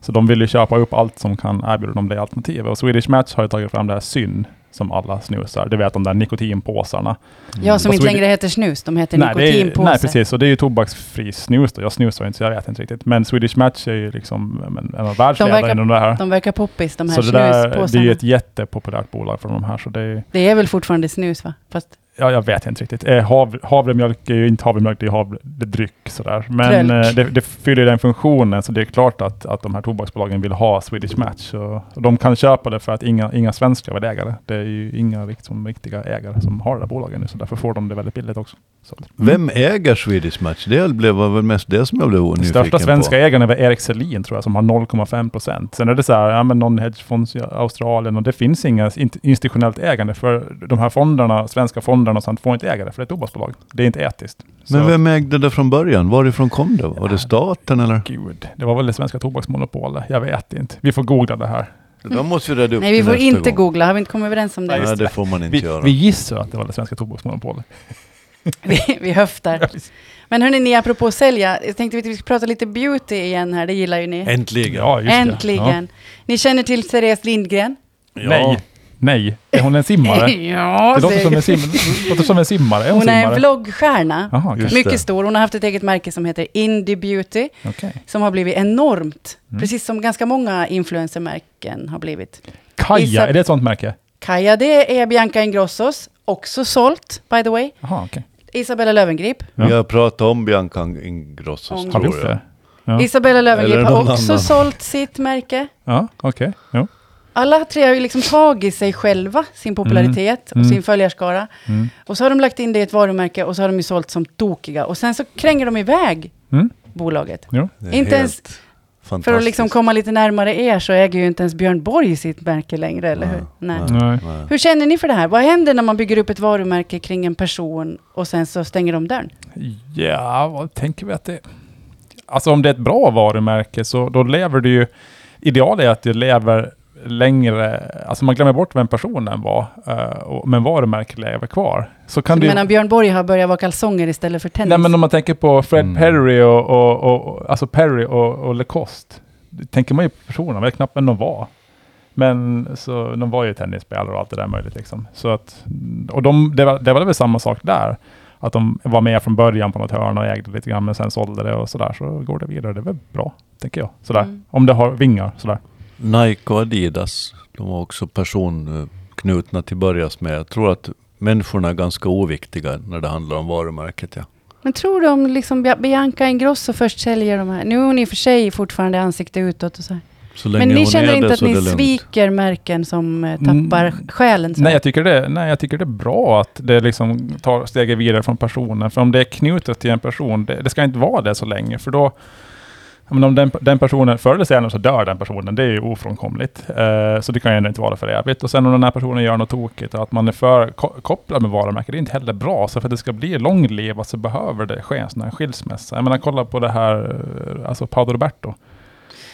[SPEAKER 3] Så de vill ju köpa upp allt som kan erbjuda dem det alternativet. Och Swedish Match har ju tagit fram det här syn som alla snusar. Du vet de där nikotinpåsarna.
[SPEAKER 1] Ja, som
[SPEAKER 3] Och
[SPEAKER 1] inte
[SPEAKER 3] Swedish-
[SPEAKER 1] längre heter snus, de heter
[SPEAKER 3] det är, nej,
[SPEAKER 1] nikotinpåse.
[SPEAKER 3] precis. Och det är ju tobaksfri snus då. Jag snusar ju inte så jag vet inte riktigt. Men Swedish Match är ju liksom men, en av världsledarna
[SPEAKER 1] verkar-
[SPEAKER 3] inom det här.
[SPEAKER 1] De verkar poppis, de här
[SPEAKER 3] så det, där, det är ju
[SPEAKER 1] snuspåsarna.
[SPEAKER 3] ett jättepopulärt bolag från de här. Så det är,
[SPEAKER 1] Det är väl fortfarande snus, va? Fast
[SPEAKER 3] Ja, jag vet inte riktigt. Eh, hav, havremjölk är ju inte havremjölk, det är havre, det är dryck. Sådär. Men
[SPEAKER 1] Trölk.
[SPEAKER 3] eh, det, det fyller ju den funktionen, så det är klart att, att de här tobaksbolagen vill ha Swedish Match. Och, och de kan köpa det för att inga, inga svenskar var ägare. Det är ju inga liksom, riktiga ägare som har det där bolaget nu, så därför får de det väldigt billigt också. Så.
[SPEAKER 2] Vem äger Swedish Match? Det blev var väl mest det som jag blev
[SPEAKER 3] Den
[SPEAKER 2] nyfiken
[SPEAKER 3] största svenska
[SPEAKER 2] på.
[SPEAKER 3] ägaren är väl Erik Selin tror jag, som har 0,5 procent. Sen är det så här, ja, men någon hedgefond i Australien och det finns inga in- institutionellt ägande för de här fonderna, svenska fonderna och sånt får inte äga det, för det är ett tobaksbolag. Det är inte etiskt. Så-
[SPEAKER 2] Men vem ägde det från början? Varifrån kom det? Var det staten eller?
[SPEAKER 3] Gud, det var väl det svenska tobaksmonopolet. Jag vet inte. Vi får googla det här.
[SPEAKER 2] De måste vi reda upp
[SPEAKER 1] nej, vi
[SPEAKER 2] till
[SPEAKER 1] får
[SPEAKER 2] nästa
[SPEAKER 1] inte
[SPEAKER 2] gång.
[SPEAKER 1] googla, har vi inte kommit överens om det?
[SPEAKER 2] Nej, det får man inte
[SPEAKER 3] Vi,
[SPEAKER 2] göra.
[SPEAKER 3] vi gissar att det var det svenska tobaksmonopolet.
[SPEAKER 1] [laughs] Vi, vi höftar. Men hörni, ni apropå sälja, jag tänkte att vi skulle prata lite beauty igen här, det gillar ju ni.
[SPEAKER 2] Äntligen!
[SPEAKER 3] Ja, just
[SPEAKER 1] Äntligen. Ni känner till Therese Lindgren?
[SPEAKER 3] Det. Ja. Nej, nej. Är hon en simmare?
[SPEAKER 1] [laughs] ja,
[SPEAKER 3] Det låter som en,
[SPEAKER 1] säger-
[SPEAKER 3] sim det låter som en simmare. Är hon,
[SPEAKER 1] Hon är en
[SPEAKER 3] simmare?
[SPEAKER 1] vloggstjärna.
[SPEAKER 3] Jaha, okej.
[SPEAKER 2] Just
[SPEAKER 1] Mycket
[SPEAKER 2] det.
[SPEAKER 1] stor. Hon har haft ett eget märke som heter Indie Beauty,
[SPEAKER 3] Okej.
[SPEAKER 1] som har blivit enormt.
[SPEAKER 3] Mm.
[SPEAKER 1] Precis som ganska många influencermärken har blivit.
[SPEAKER 3] Kaja,
[SPEAKER 1] Isa-
[SPEAKER 3] är det ett sånt märke?
[SPEAKER 1] Kaja, det är Bianca Ingrossos, också sålt, by the way.
[SPEAKER 3] Jaha, okej.
[SPEAKER 1] Isabella Löwengrip.
[SPEAKER 2] Vi har pratat om Bianca Ingrossos,
[SPEAKER 1] Om-
[SPEAKER 3] Har
[SPEAKER 2] tror
[SPEAKER 3] vi gjort
[SPEAKER 2] jag.
[SPEAKER 3] det? Ja,
[SPEAKER 1] Isabella
[SPEAKER 2] Eller
[SPEAKER 1] Löwengrip har
[SPEAKER 2] någon
[SPEAKER 1] också
[SPEAKER 2] annan.
[SPEAKER 1] sålt sitt märke.
[SPEAKER 3] ja okej. Jo.
[SPEAKER 1] Alla tre har ju liksom tagit sig själva, sin popularitet och
[SPEAKER 3] Mm.
[SPEAKER 1] sin följarskara.
[SPEAKER 3] Mm.
[SPEAKER 1] Och så har de lagt in det i ett varumärke och så har de ju sålt som tokiga. Och sen så kränger de iväg
[SPEAKER 3] Mm.
[SPEAKER 1] bolaget.
[SPEAKER 3] Jo.
[SPEAKER 2] Det är
[SPEAKER 1] Inte
[SPEAKER 2] helt
[SPEAKER 1] ens,
[SPEAKER 2] fantastiskt.
[SPEAKER 1] för att liksom komma lite närmare er så äger ju inte ens Björn Borg sitt märke längre, eller
[SPEAKER 2] Ja,
[SPEAKER 1] hur? Nej.
[SPEAKER 3] Nej.
[SPEAKER 2] Nej.
[SPEAKER 1] Hur känner ni för det här? Vad händer när man bygger upp ett varumärke kring en person och sen så stänger de dörren?
[SPEAKER 3] Ja, vad tänker vi att det Alltså om det är ett bra varumärke så då lever du ju... Idealet är att du lever längre, alltså man glömmer bort vem personen var, eh, och- men varumärket lever kvar. Så kan
[SPEAKER 1] Du
[SPEAKER 3] det ju-
[SPEAKER 1] menar Björn Borg har börjat vara kalsonger istället för tennis?
[SPEAKER 3] Nej men om man tänker på Fred
[SPEAKER 2] Mm.
[SPEAKER 3] Perry och, och, och, och, alltså Perry och, och Lacoste. Då tänker man ju på personerna, men knappt vem de var. Men så, de var ju tennisspelare och allt det där möjligt liksom. Så att, och de, det, var, det var väl samma sak där. Att de var med från början på något hörn och ägde lite grann, men sen sålde det och sådär. Så går det vidare, det är väl bra, tänker jag. Sådär.
[SPEAKER 1] Mm.
[SPEAKER 3] Om det har vingar, sådär.
[SPEAKER 2] Nike och Adidas, de var också personknutna till börjas med. Jag tror att människorna är ganska oviktiga när det handlar om varumärket. Ja.
[SPEAKER 1] Men tror de liksom Bia- Bianca Ingrosso först säljer de här? Nu är hon i och för sig fortfarande ansikte utåt och så här.
[SPEAKER 2] Så
[SPEAKER 1] Men ni
[SPEAKER 2] hon är
[SPEAKER 1] känner inte
[SPEAKER 2] det
[SPEAKER 1] att
[SPEAKER 2] så är
[SPEAKER 1] ni
[SPEAKER 2] det lugnt.
[SPEAKER 1] sviker märken som eh,
[SPEAKER 3] Mm.
[SPEAKER 1] tappar själen? Så
[SPEAKER 3] Nej
[SPEAKER 1] här?
[SPEAKER 3] jag, tycker det, nej, jag tycker det är bra att det liksom tar steget vidare från personen. För om det är knutet till en person, det, det ska inte vara det så länge. För då, jag menar, om den, den personen, förr eller senare så dör den personen, det är ju ofrånkomligt. Eh, så det kan ju ändå inte vara för evigt. Och sen om den här personen gör något tokigt, att man är för ko kopplad med varumärket, det är inte heller bra. Så för att det ska bli långlivat så behöver det ske en sån här skilsmässa. Jag menar kolla på det här, eh, alltså Paolo Roberto.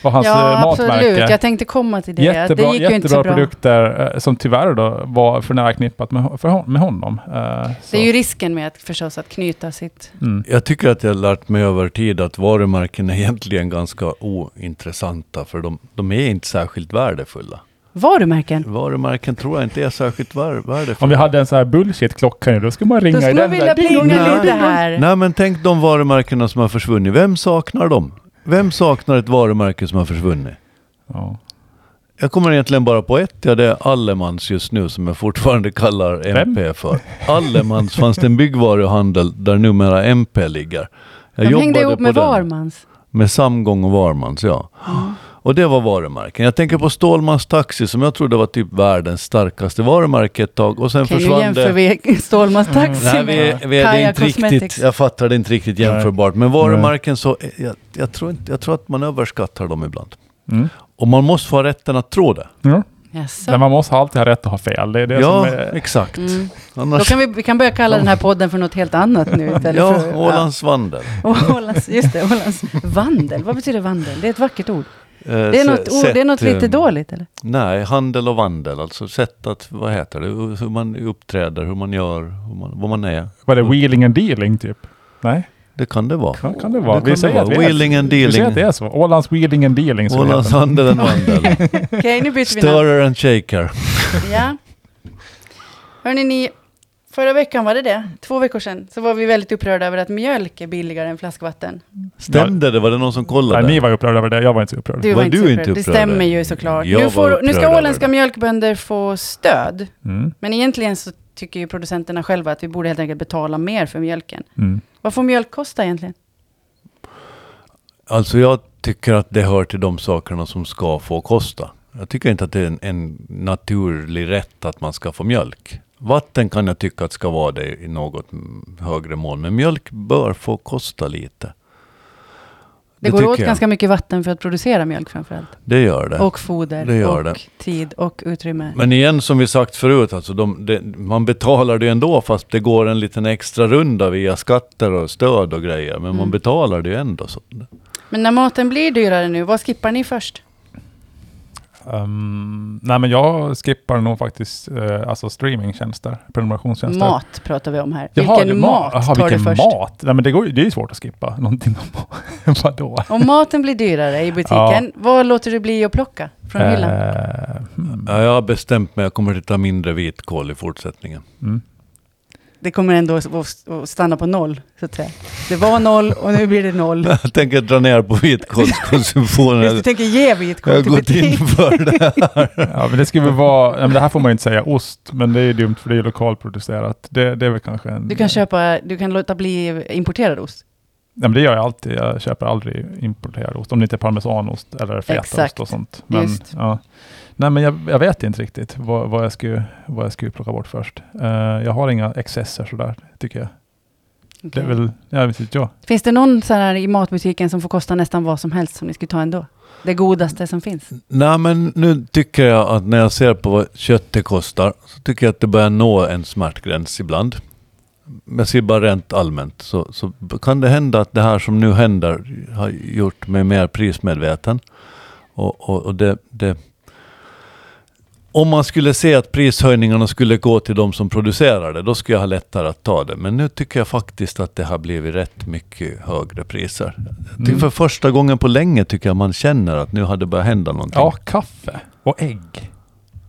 [SPEAKER 3] Och hans
[SPEAKER 1] ja,
[SPEAKER 3] eh, matmärke.
[SPEAKER 1] absolut. Jag tänkte komma till det.
[SPEAKER 3] Jättebra,
[SPEAKER 1] det gick ju inte så
[SPEAKER 3] jättebra
[SPEAKER 1] bra.
[SPEAKER 3] produkter eh, som tyvärr då var för nära knippat med, hon- för hon, med honom. Eh,
[SPEAKER 1] Det
[SPEAKER 3] så.
[SPEAKER 1] är ju risken med att förstås att knyta sitt...
[SPEAKER 3] mm.
[SPEAKER 2] Jag tycker att jag har lärt mig över tid att varumärken är egentligen ganska ointressanta för de, de är inte särskilt värdefulla.
[SPEAKER 1] Varumärken.
[SPEAKER 2] Varumärken tror jag inte är särskilt vär, värdefulla.
[SPEAKER 3] Om vi hade en sån här bullshit-klocka nu, då skulle man ringa
[SPEAKER 1] Då skulle
[SPEAKER 3] i den.
[SPEAKER 1] man vilja
[SPEAKER 3] där. Ding, ding,
[SPEAKER 1] plinga
[SPEAKER 2] Nej.
[SPEAKER 1] lite
[SPEAKER 3] ding, ding.
[SPEAKER 1] här.
[SPEAKER 2] Nej men tänk de varumärkena som har försvunnit. Vem saknar dem? Vem saknar ett varumärke som har försvunnit?
[SPEAKER 3] Ja.
[SPEAKER 2] Jag kommer egentligen bara på ett, ja det är Allemans just nu som jag fortfarande kallar MP för. Allemans fanns det en byggvaruhandel där numera MP ligger. Jag
[SPEAKER 1] De hängde
[SPEAKER 2] jobbade
[SPEAKER 1] ihop
[SPEAKER 2] på
[SPEAKER 1] med
[SPEAKER 2] den.
[SPEAKER 1] Varmans.
[SPEAKER 2] Med Samgång och Varmans, ja. Och det var varumärken. Jag tänker på Stålmans Taxi som jag trodde var typ världens starkaste varumärke ett tag och sen
[SPEAKER 1] Kan ju
[SPEAKER 2] försvann
[SPEAKER 1] jämföra
[SPEAKER 2] det. Mm.
[SPEAKER 1] vi- Stålmans taxi
[SPEAKER 2] Nej, vi,
[SPEAKER 1] med
[SPEAKER 2] är- vi, är- det är
[SPEAKER 1] Kaja
[SPEAKER 2] inte riktigt,
[SPEAKER 1] Cosmetics.
[SPEAKER 2] jag fattar det är inte riktigt jämförbart. Men varumärken så, jag, jag, tror inte, jag tror att man överskattar dem ibland.
[SPEAKER 3] Mm.
[SPEAKER 2] Och man måste få ha rätten att tro det.
[SPEAKER 3] Ja.
[SPEAKER 1] Jaså.
[SPEAKER 3] Men man måste alltid ha rätt att ha fel. Det är det
[SPEAKER 2] ja,
[SPEAKER 3] som är...
[SPEAKER 2] exakt.
[SPEAKER 1] Mm. Då
[SPEAKER 2] Annars,
[SPEAKER 1] kan vi, vi kan börja kalla den här podden för något helt annat nu istället för...
[SPEAKER 2] ja,
[SPEAKER 1] ja.
[SPEAKER 2] Ålands vandel.
[SPEAKER 1] [laughs] Ålands, just det, Ålands. Vandel, vad betyder vandel? Det är ett vackert ord.
[SPEAKER 2] Eh,
[SPEAKER 1] Det är
[SPEAKER 2] se-
[SPEAKER 1] något, ord, det är
[SPEAKER 2] sätt,
[SPEAKER 1] något lite
[SPEAKER 2] eh,
[SPEAKER 1] dåligt eller?
[SPEAKER 2] Nej, handel och vandel. Alltså sätt att, vad heter det, hur man uppträder, hur man gör, hur man, vad man är.
[SPEAKER 3] Var det wheeling and dealing typ? Nej,
[SPEAKER 2] Det kan det vara.
[SPEAKER 3] kan, kan det vara?
[SPEAKER 2] Det kan det vara.
[SPEAKER 3] att det är-
[SPEAKER 2] Wheeling and
[SPEAKER 3] Vi säger att det
[SPEAKER 2] dealing.
[SPEAKER 3] är så. Ålands wheeling and dealing. som det
[SPEAKER 2] Ålands
[SPEAKER 3] heter.
[SPEAKER 1] [laughs]
[SPEAKER 2] handel and vandel.
[SPEAKER 1] Okej, nu byter vi namn.
[SPEAKER 2] Stirrer and shaker.
[SPEAKER 1] Ja. Hörrni, ni, förra veckan var det det, två veckor sedan, så var vi väldigt upprörda över att mjölk är billigare än flaskvatten.
[SPEAKER 2] Stämde det? Var det någon som kollade?
[SPEAKER 3] Nej, ni var upprörda över det. Jag var inte så upprörd.
[SPEAKER 1] Du var,
[SPEAKER 2] Var
[SPEAKER 1] inte,
[SPEAKER 2] du
[SPEAKER 1] så
[SPEAKER 2] inte
[SPEAKER 1] upprörd. Det
[SPEAKER 2] upprörd?
[SPEAKER 1] stämmer ju såklart.
[SPEAKER 2] Jag
[SPEAKER 1] Nu,
[SPEAKER 2] var
[SPEAKER 1] får, nu
[SPEAKER 2] upprörd
[SPEAKER 1] ska
[SPEAKER 2] över
[SPEAKER 1] åländska
[SPEAKER 2] det.
[SPEAKER 1] mjölkbönder få stöd,
[SPEAKER 3] Mm.
[SPEAKER 1] men egentligen så tycker ju producenterna själva att vi borde helt enkelt betala mer för mjölken.
[SPEAKER 3] Mm.
[SPEAKER 1] Vad får mjölk kosta egentligen?
[SPEAKER 2] Alltså jag tycker att det hör till de sakerna som ska få kosta. Jag tycker inte att det är en, en naturlig rätt att man ska få mjölk. Vatten kan jag tycka att ska vara det i något mm, högre mån, men mjölk bör få kosta lite.
[SPEAKER 1] Det, går
[SPEAKER 2] tycker
[SPEAKER 1] åt
[SPEAKER 2] jag.
[SPEAKER 1] ganska mycket vatten för att producera mjölk framförallt.
[SPEAKER 2] Det gör det.
[SPEAKER 1] Och foder
[SPEAKER 2] Det gör
[SPEAKER 1] och
[SPEAKER 2] det.
[SPEAKER 1] tid och utrymme.
[SPEAKER 2] Men igen, som vi sagt förut, alltså de, det- man betalar det ändå fast det går en liten extra runda via skatter och stöd och grejer. Men
[SPEAKER 1] Mm.
[SPEAKER 2] man betalar det ju ändå. Så.
[SPEAKER 1] Men när maten blir dyrare nu, vad skippar ni först?
[SPEAKER 3] Ehm, nej, men jag skippar nog faktiskt eh, alltså streamingtjänster, prenumerationstjänster.
[SPEAKER 1] Mat pratar vi om här.
[SPEAKER 3] Jaha,
[SPEAKER 1] vilken
[SPEAKER 3] det är
[SPEAKER 1] mat
[SPEAKER 3] Jaha,
[SPEAKER 1] tar du
[SPEAKER 3] vilken
[SPEAKER 1] först?
[SPEAKER 3] mat? Nej, men det, går, ju- det är ju svårt att skippa [laughs] någonting om mat. Vadå?
[SPEAKER 1] Om maten blir dyrare i butiken, vad låter du bli att plocka från hyllan?
[SPEAKER 3] Eh, hmm,
[SPEAKER 2] Ja, jag har bestämt mig, jag kommer att ta mindre vitkål i fortsättningen.
[SPEAKER 3] mm.
[SPEAKER 1] Det kommer ändå att- att att stanna på noll, så att säga. Det var noll och nu blir det
[SPEAKER 3] [laughs]
[SPEAKER 1] noll.
[SPEAKER 2] [laughs] Jag tänker dra ner på vitkålskonsumtionen.
[SPEAKER 1] Just, du tänker ge
[SPEAKER 2] Jag har
[SPEAKER 1] vitkål till
[SPEAKER 2] gått in
[SPEAKER 1] butik.
[SPEAKER 2] för det.
[SPEAKER 3] Ja, men det skulle väl vara... Nej, men det här får man ju inte säga ost, men det är ju dumt för det är ju lokalproducerat. Det, det är väl kanske en...
[SPEAKER 1] Du kan köpa, du kan låta bli importerad ost.
[SPEAKER 3] Nej, men det gör jag alltid. Jag köper aldrig importerad ost, om det inte är parmesanost eller fetaost
[SPEAKER 1] Exakt.
[SPEAKER 3] och sånt. Men,
[SPEAKER 1] Just.
[SPEAKER 3] Ja. Nej, men jag, jag vet inte riktigt vad, vad, jag skulle, vad jag skulle plocka bort först. Eh, jag har inga excesser sådär, tycker jag. Det är
[SPEAKER 1] Okej.
[SPEAKER 3] väl... Jag vet inte, ja.
[SPEAKER 1] Finns det någon så här i matbutiken som får kosta nästan vad som helst som ni skulle ta ändå? Det godaste som finns.
[SPEAKER 2] Nej men nu tycker jag att när jag ser på vad köttet kostar så tycker jag att det börjar nå en smärtgräns ibland. Men jag ser bara rent allmänt så, så kan det hända att det här som nu händer har gjort mig mer prismedveten. Och, och, och det, det, Om man skulle se att prishöjningarna skulle gå till de som producerar det, då skulle jag ha lättare att ta det. Men nu tycker jag faktiskt att det har blivit rätt mycket högre priser. Jag tycker
[SPEAKER 3] Mm.
[SPEAKER 2] För första gången på länge tycker jag man känner att nu har det börjat hända någonting.
[SPEAKER 3] Mm. Ja, kaffe och ägg.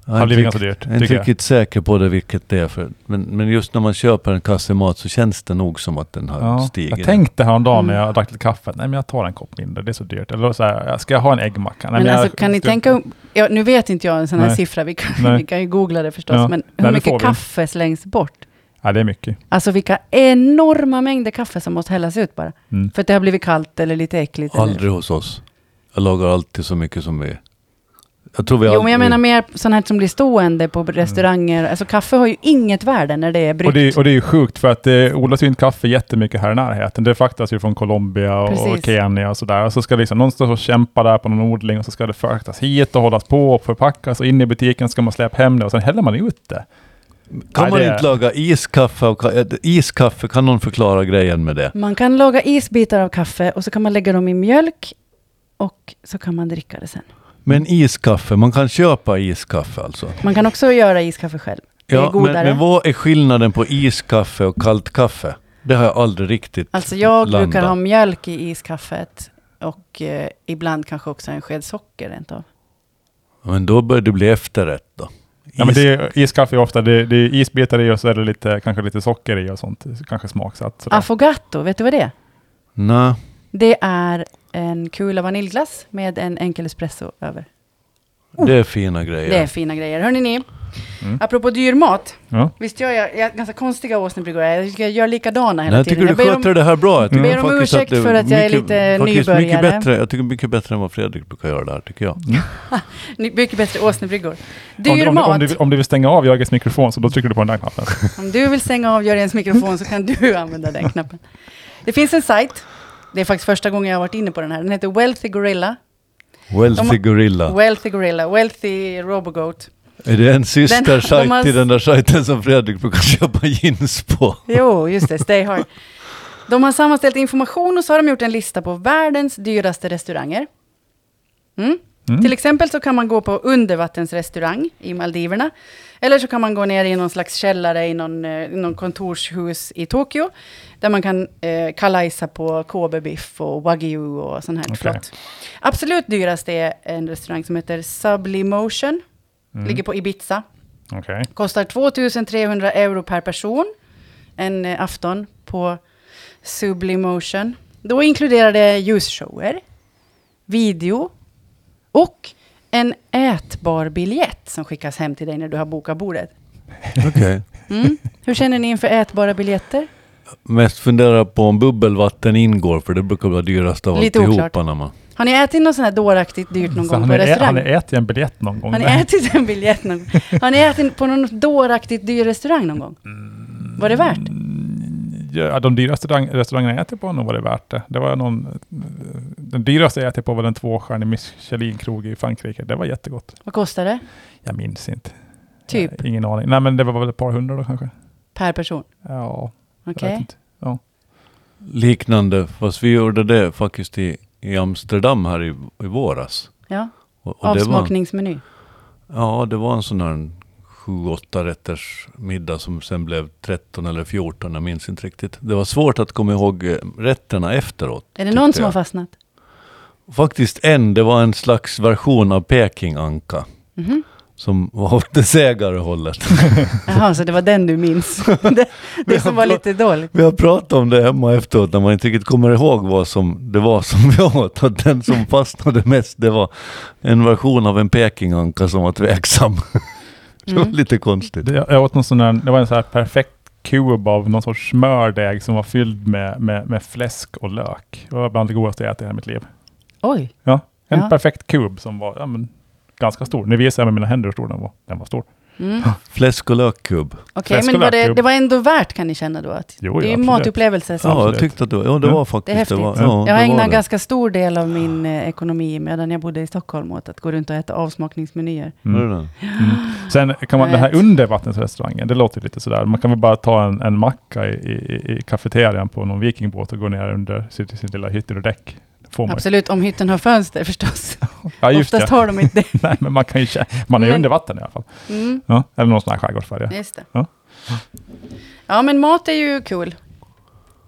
[SPEAKER 2] jag
[SPEAKER 3] Det har
[SPEAKER 2] är inte
[SPEAKER 3] blivit ganska dyrt,
[SPEAKER 2] jag är inte
[SPEAKER 3] tycker jag.
[SPEAKER 2] riktigt säker på det vilket det är för. Men, men just när man köper en kasse mat så känns det nog som att den har
[SPEAKER 3] Ja.
[SPEAKER 2] stigit.
[SPEAKER 3] Jag tänkte häromdagen när
[SPEAKER 1] Mm.
[SPEAKER 3] jag drack lite kaffe, nej men jag tar en kopp mindre, det är så dyrt. Eller så här, ska jag ha en äggmacka? Nej,
[SPEAKER 1] Men
[SPEAKER 3] jag,
[SPEAKER 1] alltså, kan ni tänka, ja, nu vet inte jag en sån här
[SPEAKER 3] Nej.
[SPEAKER 1] siffra, vi kan, [laughs]
[SPEAKER 3] Nej.
[SPEAKER 1] vi kan ju googla det förstås,
[SPEAKER 3] Ja.
[SPEAKER 1] men hur
[SPEAKER 3] Nej, det får
[SPEAKER 1] mycket
[SPEAKER 3] vi.
[SPEAKER 1] kaffe slängs bort?
[SPEAKER 3] Ja, det är mycket.
[SPEAKER 1] Alltså vilka enorma mängder kaffe som måste hällas ut bara.
[SPEAKER 3] Mm.
[SPEAKER 1] För att det har blivit kallt eller lite äckligt. eller-
[SPEAKER 2] Aldrig hos oss. Jag lagar alltid så mycket som vi... Jag tror vi
[SPEAKER 1] Jo, men
[SPEAKER 2] aldrig- Mm.
[SPEAKER 1] jag menar mer sånt här som blir stående på restauranger. Alltså kaffe har ju inget värde när det är
[SPEAKER 3] Och
[SPEAKER 1] bryggt.
[SPEAKER 3] det, och det är ju sjukt för att det odlas ju inte kaffe jättemycket här i närheten. Det fraktas ju från Colombia och
[SPEAKER 1] Precis.
[SPEAKER 3] Kenya och sådär. Och så ska liksom, någon stå och kämpa där på någon odling och så ska det fraktas hit och hållas på och förpackas och in i butiken ska man släppa hem det och sen häller man ut det.
[SPEAKER 2] Kan
[SPEAKER 3] Nej,
[SPEAKER 2] man
[SPEAKER 3] det-
[SPEAKER 2] inte laga iskaffe av ka- eh, Iskaffe, kan någon förklara grejen med det?
[SPEAKER 1] Man kan laga isbitar av kaffe och så kan man lägga dem i mjölk och så kan man dricka det sen.
[SPEAKER 2] Men iskaffe, man kan köpa iskaffe alltså?
[SPEAKER 1] Man kan också göra iskaffe själv. Det är
[SPEAKER 2] Ja, men,
[SPEAKER 1] godare.
[SPEAKER 2] men vad är skillnaden på iskaffe och kallt kaffe? Det har jag aldrig riktigt
[SPEAKER 1] Alltså jag
[SPEAKER 2] landat.
[SPEAKER 1] brukar ha mjölk i iskaffet och eh, ibland kanske också en sked socker rent av.
[SPEAKER 2] Men då börjar det bli efterrätt då.
[SPEAKER 3] Ja, men det är, iskaffe är ofta, det, det är isbitar i och så är det lite, kanske lite socker i och sånt. Kanske smaksatt. sådär.
[SPEAKER 1] Affogato, vet du vad det är?
[SPEAKER 2] Nej.
[SPEAKER 1] Det är en kula vaniljglass med en enkel espresso över.
[SPEAKER 2] Det är fina grejer.
[SPEAKER 1] Det är fina grejer. Hörrni ni,
[SPEAKER 3] Mm.
[SPEAKER 1] apropå dyr mat.
[SPEAKER 3] Ja.
[SPEAKER 1] Visst gör jag, jag ganska konstiga åsnebryggor. Jag tycker jag gör likadana hela
[SPEAKER 2] Nej, jag tycker
[SPEAKER 1] tiden.
[SPEAKER 2] du
[SPEAKER 1] Jag ber om-
[SPEAKER 2] sköter det här bra. Jag tycker
[SPEAKER 1] ber om
[SPEAKER 2] faktiskt att
[SPEAKER 1] ursäkt
[SPEAKER 2] det
[SPEAKER 1] för att jag är lite
[SPEAKER 2] faktiskt Mycket
[SPEAKER 1] nybörjare.
[SPEAKER 2] bättre, jag tycker mycket bättre än vad Fredrik brukar göra där, tycker jag.
[SPEAKER 3] Mm.
[SPEAKER 1] Ni- Mycket bättre åsnebryggor. Dyr
[SPEAKER 3] Om, du- om, du-
[SPEAKER 1] mat.
[SPEAKER 3] om, du, om du vill stänga av Jörgens mikrofon så då trycker du på den där knappen.
[SPEAKER 1] Om du vill stänga av Jörgens mikrofon så kan du [laughs] använda den knappen. Det finns en sajt. Det är faktiskt första gången jag har varit inne på den här. Den heter Wealthy Gorilla.
[SPEAKER 2] Wealthy
[SPEAKER 1] De-
[SPEAKER 2] Gorilla.
[SPEAKER 1] Wealthy Gorilla. Wealthy Robogoat.
[SPEAKER 2] Är det en systersajt
[SPEAKER 1] de har-
[SPEAKER 2] till den där sajten som Fredrik brukar [laughs] köpa jeans på?
[SPEAKER 1] Jo, just det. Stay hard. De har sammanställt information och så har de gjort en lista på världens dyraste restauranger. Mm.
[SPEAKER 3] Mm.
[SPEAKER 1] Till exempel så kan man gå på undervattensrestaurang i Maldiverna. Eller så kan man gå ner i någon slags källare i någon, eh, i någon kontorshus i Tokyo. Där man kan eh, kalajsa på Kobe-biff och wagyu och sån här
[SPEAKER 3] Okej.
[SPEAKER 1] flott. Absolut dyrast är en restaurang som heter Sublimotion.
[SPEAKER 3] Mm.
[SPEAKER 1] Ligger på Ibiza.
[SPEAKER 3] Okej.
[SPEAKER 1] Kostar 2300 euro per person en eh, afton på Sublimotion. Då inkluderar det ljusshower, video och en ätbar biljett som skickas hem till dig när du har bokat bordet.
[SPEAKER 2] Okej.
[SPEAKER 1] Mm. Hur känner ni inför ätbara biljetter?
[SPEAKER 2] Mest fundera på om bubbelvatten ingår, för det brukar vara dyrast av
[SPEAKER 1] Lite
[SPEAKER 2] alltihopa.
[SPEAKER 1] oklart.
[SPEAKER 2] När man...
[SPEAKER 1] Har ni ätit något sånt här dåraktigt dyrt någon
[SPEAKER 3] Så
[SPEAKER 1] gång
[SPEAKER 3] han
[SPEAKER 1] på
[SPEAKER 3] har ä- han har
[SPEAKER 1] restaurang?
[SPEAKER 3] ätit en biljett någon gång.
[SPEAKER 1] Har ni
[SPEAKER 3] där.
[SPEAKER 1] ätit en biljett någon gång? Har ni ätit på någon dåraktigt dyr restaurang någon gång? Var det värt?
[SPEAKER 3] Ja, de dyraste rang- restaurangerna jag ätit på har nog varit värt det. det var någon, den dyraste jag ätit på var en tvåstjärnig Michelin-krog i Frankrike. Det var jättegott.
[SPEAKER 1] Vad kostar det?
[SPEAKER 3] Jag minns inte.
[SPEAKER 1] Typ
[SPEAKER 3] Jag har ingen aning. Nej, men det var väl ett par hundra då kanske.
[SPEAKER 1] per person?
[SPEAKER 3] Ja, jag
[SPEAKER 1] Okej.
[SPEAKER 3] vet inte.
[SPEAKER 2] Liknande, fast vi gjorde det faktiskt i, i Amsterdam här i, i våras.
[SPEAKER 1] Ja.
[SPEAKER 2] Och, och det var,
[SPEAKER 1] Avsmakningsmeny.
[SPEAKER 2] ja, det var en sån här sju, åtta rätters middag som sen blev 13 eller 14, jag minns inte riktigt. Det var svårt att komma ihåg eh, rätterna efteråt.
[SPEAKER 1] Är det
[SPEAKER 2] tyckte
[SPEAKER 1] någon som
[SPEAKER 2] jag.
[SPEAKER 1] har fastnat?
[SPEAKER 2] Faktiskt en, det var en slags version av Pekinganka.
[SPEAKER 1] Mhm.
[SPEAKER 2] Som var åt det segare hållet. [laughs]
[SPEAKER 1] Jaha, så det var den du minns? det, det som var lite dåligt.
[SPEAKER 2] Vi har pratat om det hemma efteråt när man inte riktigt kommer ihåg vad som det var som vi åt. Att
[SPEAKER 1] [laughs]
[SPEAKER 2] den som fastnade mest det var en version av en Pekinganka som var tveksam. [laughs] Det var
[SPEAKER 1] Mm.
[SPEAKER 2] lite konstigt.
[SPEAKER 3] Det, jag åt någon sån där, det var en sån här perfekt kub av någon sorts smördeg som var fylld med, med, med fläsk och lök. Det var bland det godaste jag ätit i hela mitt liv.
[SPEAKER 1] Oj.
[SPEAKER 3] En
[SPEAKER 1] Ja.
[SPEAKER 3] perfekt kub som var ja, men, ganska stor. Nu visar jag med mina händer hur stor den var. Den var stor.
[SPEAKER 1] Mm.
[SPEAKER 2] Fläsk och lökkubb.
[SPEAKER 1] Okej,
[SPEAKER 3] Fläsk och
[SPEAKER 1] men var det,
[SPEAKER 3] lökkubb.
[SPEAKER 1] det var ändå värt kan ni känna då? Att
[SPEAKER 3] Jo,
[SPEAKER 1] det är
[SPEAKER 3] ja,
[SPEAKER 1] ju
[SPEAKER 3] absolut.
[SPEAKER 1] matupplevelse. Som,
[SPEAKER 2] Ja, jag
[SPEAKER 3] Absolut.
[SPEAKER 2] tyckte att det var, ja, det
[SPEAKER 3] Mm.
[SPEAKER 2] var faktiskt
[SPEAKER 1] Det är
[SPEAKER 2] var,
[SPEAKER 1] häftigt.
[SPEAKER 2] ja,
[SPEAKER 1] jag
[SPEAKER 2] det var
[SPEAKER 1] ägnade
[SPEAKER 2] det.
[SPEAKER 1] ganska stor del av min eh, ekonomi medan jag bodde i Stockholm åt att gå runt och äta avsmakningsmenyer.
[SPEAKER 3] Mm.
[SPEAKER 2] Var det det?
[SPEAKER 3] Mm. Sen kan man,
[SPEAKER 1] Jag
[SPEAKER 3] den här
[SPEAKER 1] vet.
[SPEAKER 3] undervattensrestaurangen, det låter lite sådär. Man kan väl bara ta en, en macka i, i, i- i kafeterian på någon vikingbåt och gå ner under sin, sin lilla hytt under däck.
[SPEAKER 2] Oh
[SPEAKER 3] Får man. ju.
[SPEAKER 1] Absolut, om hytten har fönster förstås.
[SPEAKER 3] Ja, just
[SPEAKER 1] Oftast
[SPEAKER 3] det.
[SPEAKER 1] har de inte det.
[SPEAKER 3] [laughs] Nej, men man kan ju kä- Man är ju
[SPEAKER 1] Men-
[SPEAKER 3] under vatten i alla fall.
[SPEAKER 1] Mm.
[SPEAKER 3] Ja, eller någon sån här skärgårdsfärja.
[SPEAKER 1] Just det.
[SPEAKER 3] Ja.
[SPEAKER 1] Ja, men mat är ju kul.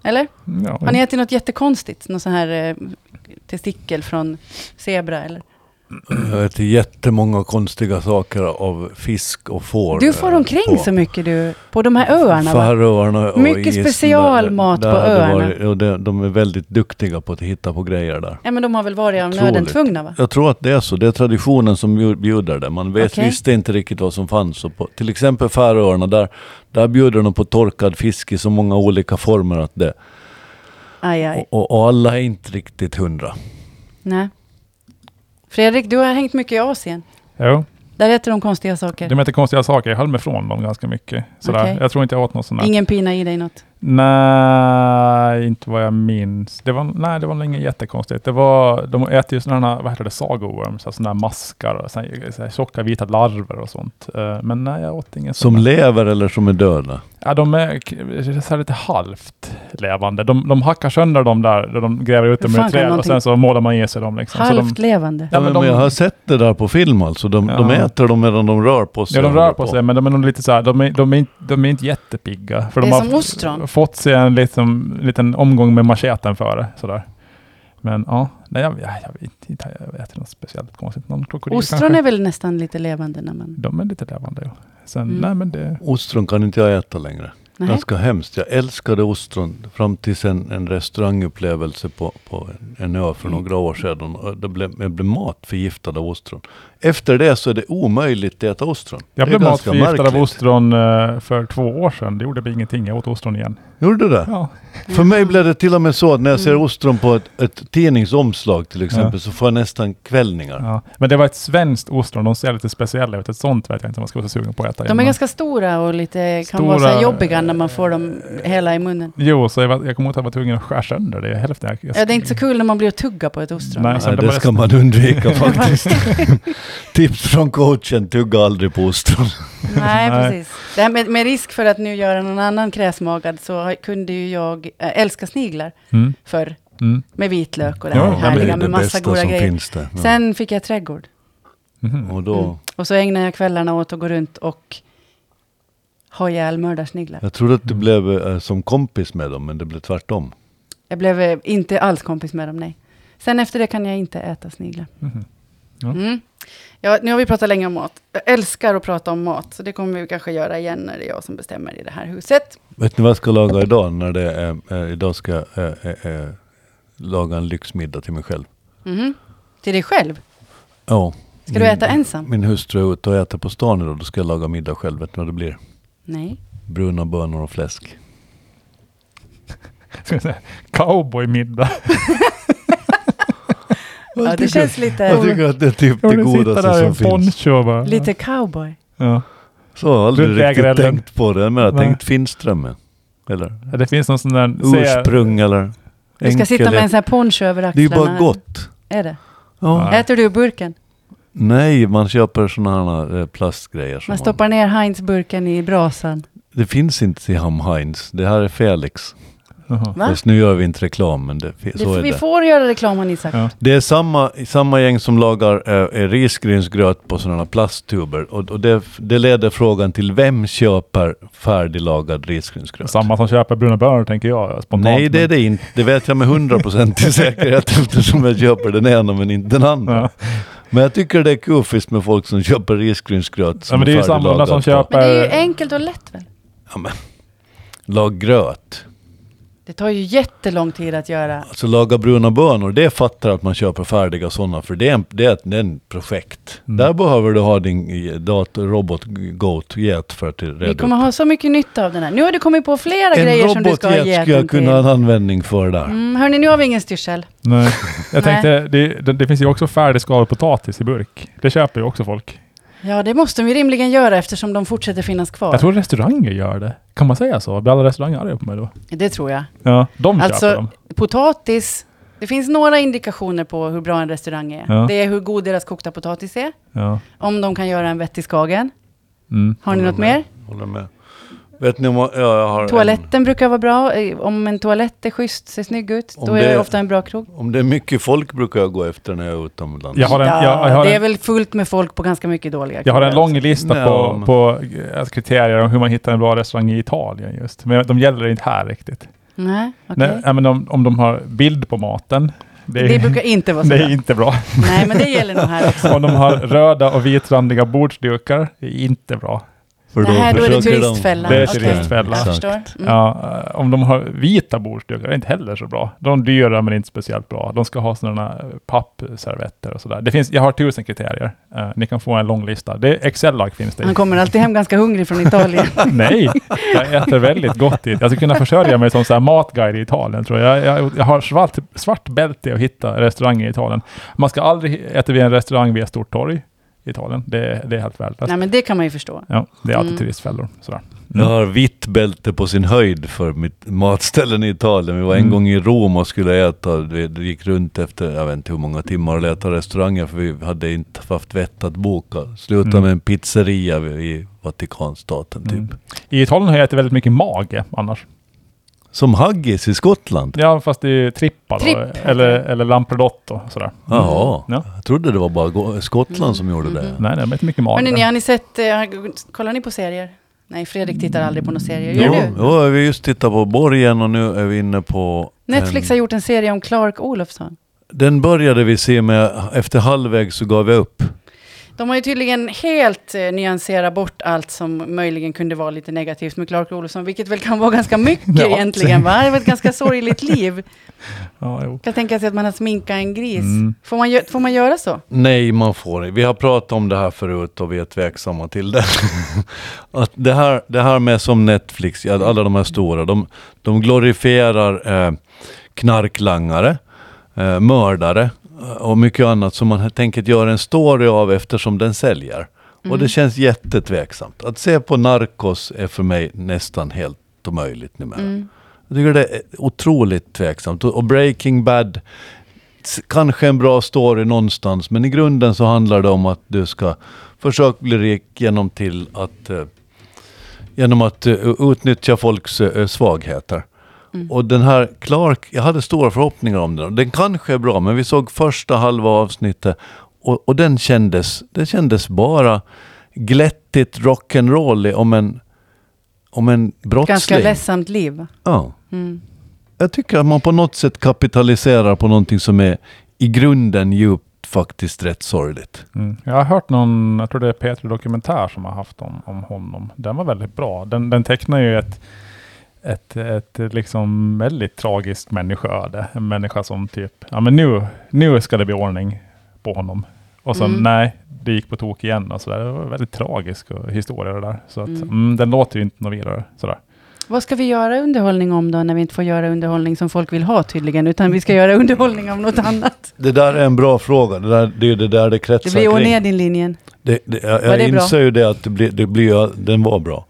[SPEAKER 1] Eller?
[SPEAKER 3] Ja,
[SPEAKER 1] Har ni ätit något jättekonstigt? Någon sån här eh, testikel från zebra eller?
[SPEAKER 2] Jag äter jättemånga konstiga saker av fisk och får.
[SPEAKER 1] Du får
[SPEAKER 2] eh,
[SPEAKER 1] omkring
[SPEAKER 2] på
[SPEAKER 1] så mycket du, på de här öarna va?
[SPEAKER 2] Färöarna och
[SPEAKER 1] Mycket
[SPEAKER 2] Island.
[SPEAKER 1] specialmat
[SPEAKER 2] Där
[SPEAKER 1] på
[SPEAKER 2] hade
[SPEAKER 1] öarna.
[SPEAKER 2] varit- och de, de är väldigt duktiga på att hitta på grejer där.
[SPEAKER 1] Ja, men de har väl varit av
[SPEAKER 2] Otroligt.
[SPEAKER 1] nöden tvungna va?
[SPEAKER 2] Jag tror att det är så. Det är traditionen som bjud- bjuder det. Man vet,
[SPEAKER 1] Okej.
[SPEAKER 2] visste inte riktigt vad som fanns. Och på, till exempel Färöarna, där, där bjuder de på torkad fisk i så många olika former att det...
[SPEAKER 1] Aj, aj.
[SPEAKER 2] Och, och alla är inte riktigt hundra.
[SPEAKER 1] Nej. Fredrik, du har hängt mycket i Asien.
[SPEAKER 3] Jo,
[SPEAKER 1] Där äter de konstiga saker.
[SPEAKER 3] de äter konstiga saker. Jag höll mig ifrån dem ganska mycket. Sådär.
[SPEAKER 1] Okej.
[SPEAKER 3] Jag tror inte jag åt något sånt där.
[SPEAKER 1] Ingen pina i dig något.
[SPEAKER 3] Nej, inte vad jag minns. Det var, nej, det var nog inget jättekonstigt. Det var, de äter ju sådana här, vad heter det, sagoworms, alltså sådana här maskar och såna, så här tjocka vita larver och sånt. Eh, Men nej, jag åt ingen
[SPEAKER 2] Som
[SPEAKER 3] sån.
[SPEAKER 2] lever eller som är döda.
[SPEAKER 3] Ja, de är k- så här lite halvt levande. De, de hackar sönder dem där, de gräver ut
[SPEAKER 1] Hur
[SPEAKER 3] dem ur
[SPEAKER 1] fan kan
[SPEAKER 3] ett träd och
[SPEAKER 1] någonting-
[SPEAKER 3] sen så målar man i sig dem. Liksom. Så de,
[SPEAKER 1] Halvt levande.
[SPEAKER 3] Ja,
[SPEAKER 2] Ja,
[SPEAKER 3] men
[SPEAKER 2] men
[SPEAKER 3] de-
[SPEAKER 2] Jag har sett det där på film alltså. De, de
[SPEAKER 3] Ja.
[SPEAKER 2] äter dem medan de rör på sig.
[SPEAKER 3] Ja, de
[SPEAKER 2] håller
[SPEAKER 3] rör på sig, men de är nog lite så här, de är, de är, inte- de är inte jättepigga. För
[SPEAKER 1] Det
[SPEAKER 3] de
[SPEAKER 1] är
[SPEAKER 3] har
[SPEAKER 1] som
[SPEAKER 3] f-
[SPEAKER 1] ostron.
[SPEAKER 3] fått sig en liten, liten omgång med macheten före. Sådär. Men ja, nej, jag, jag, jag vet inte, jag äter något speciellt konstigt. Någon krokodil
[SPEAKER 1] Ostron
[SPEAKER 3] kanske.
[SPEAKER 1] är väl nästan lite levande när man...
[SPEAKER 3] De är lite levande. ja. Sen,
[SPEAKER 1] Mm.
[SPEAKER 3] nej men det...
[SPEAKER 2] Ostron kan inte jag äta längre.
[SPEAKER 1] Nej.
[SPEAKER 2] Ganska hemskt. Jag älskade ostron fram tills en, en restaurangupplevelse på, på en- en ö för några år sedan. Och det blev, jag blev matförgiftad av ostron. Efter det så är det omöjligt att äta ostron.
[SPEAKER 3] Jag
[SPEAKER 2] det är
[SPEAKER 3] blev
[SPEAKER 2] ganska
[SPEAKER 3] matförgiftad av
[SPEAKER 2] märkligt.
[SPEAKER 3] ostron eh, för två år sedan. Det gjorde väl ingenting. Jag åt
[SPEAKER 2] [laughs]
[SPEAKER 3] ostron igen.
[SPEAKER 2] Gjorde du det?
[SPEAKER 3] Ja.
[SPEAKER 2] För mig blev det till och med så att när jag ser
[SPEAKER 1] Mm.
[SPEAKER 2] ostron på ett, ett tidningsomslag till exempel
[SPEAKER 3] Ja.
[SPEAKER 2] så får jag nästan kvällningar.
[SPEAKER 3] Ja. Men det var ett svenskt ostron. De ser lite speciella ut. Ett sånt vet jag inte om man ska vara så sugen på att äta. igen,
[SPEAKER 1] De är
[SPEAKER 3] men-
[SPEAKER 1] ganska stora och lite, kan vara så
[SPEAKER 3] Stora,
[SPEAKER 1] här jobbiga när man får dem hela i munnen.
[SPEAKER 3] Jo, så jag, var, jag kommer ihåg att jag var tvungen att skära sönder det. Hälften. Jag, jag,
[SPEAKER 1] Ja, det är inte så kul när man blir att tugga på ett ostron.
[SPEAKER 3] Nej,
[SPEAKER 2] Nej,
[SPEAKER 3] sen
[SPEAKER 2] det
[SPEAKER 3] bara-
[SPEAKER 1] [laughs]
[SPEAKER 2] ska man undvika faktiskt. [laughs] Tips från coachen, tugga aldrig på ostron. [laughs]
[SPEAKER 1] Nej,
[SPEAKER 3] Nej.
[SPEAKER 1] precis. Det här med, med risk för att nu göra någon annan kräsmagad så har- kunde ju jag äh, älska sniglar
[SPEAKER 3] Mm,
[SPEAKER 1] förr.
[SPEAKER 3] mm,
[SPEAKER 1] Med vitlök och det
[SPEAKER 3] Ja,
[SPEAKER 1] här
[SPEAKER 3] ja, men
[SPEAKER 1] härliga
[SPEAKER 2] det är det
[SPEAKER 1] med massa
[SPEAKER 2] bästa
[SPEAKER 1] goda
[SPEAKER 2] som
[SPEAKER 1] grejer.
[SPEAKER 2] finns där. Ja.
[SPEAKER 1] Sen fick jag trädgård.
[SPEAKER 3] mhm.
[SPEAKER 2] och då,
[SPEAKER 1] Mm. Och så ägnar jag kvällarna åt att gå runt och ha ihjäl mördarsniglar.
[SPEAKER 2] Jag trodde att
[SPEAKER 1] Mm.
[SPEAKER 2] du blev eh, som kompis med dem, men det blev tvärtom.
[SPEAKER 1] Jag blev eh, inte alls kompis med dem, nej. Sen efter det kan jag inte äta sniglar.
[SPEAKER 3] mhm.
[SPEAKER 1] Mm. Ja, nu har vi pratat länge om mat. Jag älskar att prata om mat, så det kommer vi kanske göra igen när det är jag som bestämmer i det här huset.
[SPEAKER 2] Vet ni vad jag ska laga idag? När det är, eh, idag ska jag eh, eh, eh, laga en lyxmiddag till mig själv.
[SPEAKER 1] Mhm. Till dig själv?
[SPEAKER 2] Ja.
[SPEAKER 1] Ska
[SPEAKER 2] Mm.
[SPEAKER 1] du äta ensam?
[SPEAKER 2] Min hustru är ute och äter på stan idag. Då ska jag laga middag själv. Vet ni vad det blir?
[SPEAKER 1] Nej.
[SPEAKER 2] Bruna bönor och fläsk.
[SPEAKER 3] Ska jag säga, [laughs] Cowboymiddag.
[SPEAKER 1] Ja, det känns
[SPEAKER 2] Jag
[SPEAKER 1] lite,
[SPEAKER 2] tycker att det är typ
[SPEAKER 3] Jag
[SPEAKER 2] det
[SPEAKER 3] vill sitta
[SPEAKER 2] godaste
[SPEAKER 3] där i en
[SPEAKER 2] som finns.
[SPEAKER 3] poncho och bara...
[SPEAKER 1] lite cowboy.
[SPEAKER 3] Ja.
[SPEAKER 2] Så jag har aldrig
[SPEAKER 3] Runt
[SPEAKER 2] riktigt
[SPEAKER 3] vägrällen.
[SPEAKER 2] tänkt på det. Men jag har
[SPEAKER 3] Nej.
[SPEAKER 2] tänkt Finströmmen. Eller
[SPEAKER 3] Ja, Det finns någon sån där...
[SPEAKER 2] ursprung eller
[SPEAKER 1] Du ska sitta med en
[SPEAKER 2] enkelhet.
[SPEAKER 1] sån här poncho över
[SPEAKER 2] Det är ju
[SPEAKER 1] axlarna.
[SPEAKER 2] bara gott.
[SPEAKER 1] Är det?
[SPEAKER 2] Ja.
[SPEAKER 3] Ja. Nej.
[SPEAKER 1] Äter du ur burken?
[SPEAKER 2] Nej, man köper sådana här eh, plastgrejer. Som
[SPEAKER 1] Man stoppar ner Heinz-burken i brasan.
[SPEAKER 2] Det finns inte i Ham Heinz. Det här är Felix.
[SPEAKER 3] Jaha.
[SPEAKER 1] Va?
[SPEAKER 2] Fast nu gör vi inte reklam, men det, fi-
[SPEAKER 1] Det,
[SPEAKER 2] så är
[SPEAKER 1] vi
[SPEAKER 2] det.
[SPEAKER 1] får göra reklam om Isak.
[SPEAKER 3] Ja.
[SPEAKER 2] Det är samma, samma gäng som lagar eh, eh, risgrynsgröt på sådana plasttuber. Och, och det, det leder frågan till vem köper färdiglagad risgrynsgröt?
[SPEAKER 3] Samma som köper bruna bönor tänker jag spontant.
[SPEAKER 2] Nej, det är det inte. Det vet jag med 100%
[SPEAKER 3] [laughs]
[SPEAKER 2] i säkerhet eftersom jag köper den ena men inte den andra.
[SPEAKER 3] Ja.
[SPEAKER 2] Men jag tycker det är kufiskt med folk som köper risgrynsgröt som
[SPEAKER 3] Ja, men det är ju samma
[SPEAKER 2] färdiglagad
[SPEAKER 3] som
[SPEAKER 2] på-
[SPEAKER 3] köper-
[SPEAKER 1] Men det är ju enkelt och lätt väl?
[SPEAKER 2] Ja, men, lag gröt.
[SPEAKER 1] Det tar ju jättelång tid att göra.
[SPEAKER 2] Alltså laga bruna bönor, det fattar jag att man köper färdiga sådana, för det är en, det är ett, det är en projekt.
[SPEAKER 3] Mm.
[SPEAKER 2] Där behöver du ha din dator, robot, goat, get för att reda
[SPEAKER 1] Vi
[SPEAKER 2] ut.
[SPEAKER 1] kommer ha så mycket nytta av den här. Nu har du kommit på flera
[SPEAKER 2] En
[SPEAKER 1] grejer som du
[SPEAKER 2] robotget
[SPEAKER 1] ska ha
[SPEAKER 2] skulle
[SPEAKER 1] geten
[SPEAKER 2] jag
[SPEAKER 1] till.
[SPEAKER 2] kunna ha en användning för där.
[SPEAKER 1] Mm, hörni, nu har vi ingen styrsel.
[SPEAKER 2] [laughs]
[SPEAKER 3] Nej. Jag
[SPEAKER 1] Nej.
[SPEAKER 3] tänkte, det, det, det finns ju också färdigskalad potatis i burk. Det köper ju också folk.
[SPEAKER 1] Ja, det måste vi rimligen göra eftersom de fortsätter finnas kvar.
[SPEAKER 3] Jag tror restauranger gör det. Kan man säga så? Blir alla restauranger arga på mig då?
[SPEAKER 1] Det tror jag.
[SPEAKER 3] Ja, de
[SPEAKER 1] Alltså-
[SPEAKER 3] köper dem.
[SPEAKER 1] Potatis. Det finns några indikationer på hur bra en restaurang är.
[SPEAKER 3] Ja.
[SPEAKER 1] Det är hur god deras kokta potatis är.
[SPEAKER 3] Ja.
[SPEAKER 1] Om de kan göra en vettig skagen.
[SPEAKER 3] Mm. Mm.
[SPEAKER 1] Har ni
[SPEAKER 2] Håller
[SPEAKER 1] något
[SPEAKER 2] med.
[SPEAKER 1] mer?
[SPEAKER 2] Håller med. Vet ni om jag jag har en-
[SPEAKER 1] Toaletten brukar vara bra. Eh, Om en toalett är schysst, ser snygg ut,
[SPEAKER 2] Om
[SPEAKER 1] då är
[SPEAKER 2] det-
[SPEAKER 1] det ofta en bra krog.
[SPEAKER 2] Om det är mycket folk brukar jag gå efter när jag är utomlands.
[SPEAKER 3] Jag har en-
[SPEAKER 1] ja,
[SPEAKER 3] jag- jag har
[SPEAKER 1] det är
[SPEAKER 3] en-
[SPEAKER 1] väl fullt med folk på ganska mycket dåliga
[SPEAKER 3] Jag har en
[SPEAKER 1] krogar.
[SPEAKER 3] lång lista
[SPEAKER 2] Ja.
[SPEAKER 3] på, på eh, kriterier om hur man hittar en bra restaurang i Italien just. Men de gäller inte här riktigt.
[SPEAKER 1] Nej, okej.
[SPEAKER 3] Nej, ja, men om, om de har bild på maten. Det är,
[SPEAKER 1] Det brukar inte vara så
[SPEAKER 3] [laughs] det
[SPEAKER 1] bra.
[SPEAKER 3] är inte bra.
[SPEAKER 1] Nej, men det gäller nog
[SPEAKER 3] [laughs]
[SPEAKER 1] här också.
[SPEAKER 3] om de har röda och vitrandiga bordsdukar, det är inte bra.
[SPEAKER 2] För
[SPEAKER 1] Det här, då är det
[SPEAKER 2] försöker de-
[SPEAKER 1] turistfällan.
[SPEAKER 3] Det är
[SPEAKER 1] Okej,
[SPEAKER 3] turistfällan.
[SPEAKER 1] Jag
[SPEAKER 2] Exakt.
[SPEAKER 1] förstår. Mm.
[SPEAKER 3] Ja, eh, om de har vita bordsdukar, det är inte heller så bra. De är dyra men inte speciellt bra. De ska ha sådana pappservetter och sådär. Det finns, jag har tusen kriterier. Eh, ni kan få en lång lista. Det är Excel-ark finns det.
[SPEAKER 1] Han kommer alltid hem ganska hungrig från
[SPEAKER 3] [laughs]
[SPEAKER 1] Italien.
[SPEAKER 3] Nej, jag äter väldigt gott. I, jag skulle kunna försörja mig som så här matguide i Italien tror jag. Jag, jag, jag har svart, svart bälte att hitta restauranger i Italien. Man ska aldrig äta vid en restaurang vid ett stort torg i Italien. Det, det är helt värdelöst.
[SPEAKER 1] Nej, men det kan man ju förstå.
[SPEAKER 3] Ja, det är alltid
[SPEAKER 1] Mm.
[SPEAKER 3] turistfällor. Sådär.
[SPEAKER 2] Jag har vitt bälte på sin höjd för mitt matställen i Italien. Vi var en
[SPEAKER 3] Mm.
[SPEAKER 2] gång i Rom och skulle äta. Vi det gick runt efter, jag vet inte hur många timmar och leta restauranger för vi hade inte haft vett att boka. Slutade
[SPEAKER 3] Mm.
[SPEAKER 2] med en pizzeria vid- i Vatikanstaten typ.
[SPEAKER 3] Mm. I Italien har jag ätit väldigt mycket mage annars.
[SPEAKER 2] Som Haggis i Skottland.
[SPEAKER 3] Ja, fast det är trippa då,
[SPEAKER 1] Tripp heter
[SPEAKER 3] eller,
[SPEAKER 1] det.
[SPEAKER 3] eller lampredotto och sådär.
[SPEAKER 2] Jaha,
[SPEAKER 3] Ja.
[SPEAKER 2] jag trodde det var bara Go- Skottland som
[SPEAKER 1] Mm.
[SPEAKER 2] gjorde det.
[SPEAKER 1] Mhm.
[SPEAKER 3] Nej, nej, men inte mycket mage.
[SPEAKER 1] Hörrni, ni, har ni sett, eh, har- kollar ni på serier? Nej, Fredrik tittar aldrig på några serier. Gör
[SPEAKER 2] Jo,
[SPEAKER 1] du?
[SPEAKER 2] jo, vi har just tittat på Borgen och nu är vi inne på...
[SPEAKER 1] Netflix
[SPEAKER 2] en-
[SPEAKER 1] har gjort en serie om Clark Olofsson.
[SPEAKER 2] Den började vi se med, efter halvvägs så gav jag upp.
[SPEAKER 1] De har ju tydligen helt eh, nyanserat bort allt som möjligen kunde vara lite negativt med Clark Olofsson, vilket väl kan vara ganska mycket
[SPEAKER 3] Ja.
[SPEAKER 1] egentligen, va? Det var ett ganska sorgligt liv.
[SPEAKER 3] Ja, jo.
[SPEAKER 1] Kan tänka sig att man har sminkat en gris.
[SPEAKER 3] Mm.
[SPEAKER 1] Får, man gö- får man göra så?
[SPEAKER 2] Nej, man får inte. Vi har pratat om det här förut och vi är tveksamma till det. [laughs] att det, här, det här med som Netflix, ja, alla de här stora, de, de glorifierar eh, knarklangare, eh, mördare eh, och mycket annat som man tänker göra en story av eftersom den säljer. Och det känns jättetveksamt. Att se på Narcos är för mig nästan helt omöjligt numera.
[SPEAKER 1] Mm.
[SPEAKER 2] Jag tycker det är otroligt tveksamt. Och och Breaking Bad, s- kanske en bra story någonstans, men i grunden så handlar det om att du ska försöka bli rik genom till att eh, genom att eh, utnyttja folks eh, svagheter. Och den här Clark, jag hade stora förhoppningar om den. Den kanske är bra, men vi såg första halva avsnittet och, och den kändes, det kändes bara glättigt rock'n'roll om en, om en brottsling.
[SPEAKER 1] Ganska ledsamt liv. va?
[SPEAKER 2] Ja.
[SPEAKER 1] Mm.
[SPEAKER 2] Jag tycker att man på något sätt kapitaliserar på någonting som är i grunden djupt faktiskt rätt sorgligt.
[SPEAKER 3] Mm. Jag har hört någon, jag tror det är Petri Dokumentär som har haft om, om honom. Den var väldigt bra. Den, den tecknar ju ett, ett, ett liksom väldigt tragiskt människoöde. En människa som typ, ja men nu, nu ska det bli ordning på honom. Och sen
[SPEAKER 1] Mm.
[SPEAKER 3] nej, det gick på tok igen och sådär. Det var väldigt tragisk och historia det där. Så att,
[SPEAKER 1] Mm.
[SPEAKER 3] mm. den låter ju inte något vidare
[SPEAKER 2] [laughs]
[SPEAKER 3] sådär.
[SPEAKER 1] Vad ska vi göra underhållning om då, när vi inte får göra underhållning som folk vill ha tydligen, utan vi ska göra underhållning om något annat?
[SPEAKER 2] Det där är en bra fråga. Det, där, det är ju det där det
[SPEAKER 1] Det
[SPEAKER 2] kretsar
[SPEAKER 1] blir
[SPEAKER 2] kring.
[SPEAKER 1] ner din linjen.
[SPEAKER 2] Det, det, jag
[SPEAKER 1] Var
[SPEAKER 2] jag
[SPEAKER 1] det bra?
[SPEAKER 2] inser ju det att det blir, det blir, den
[SPEAKER 1] [laughs]
[SPEAKER 2] var bra.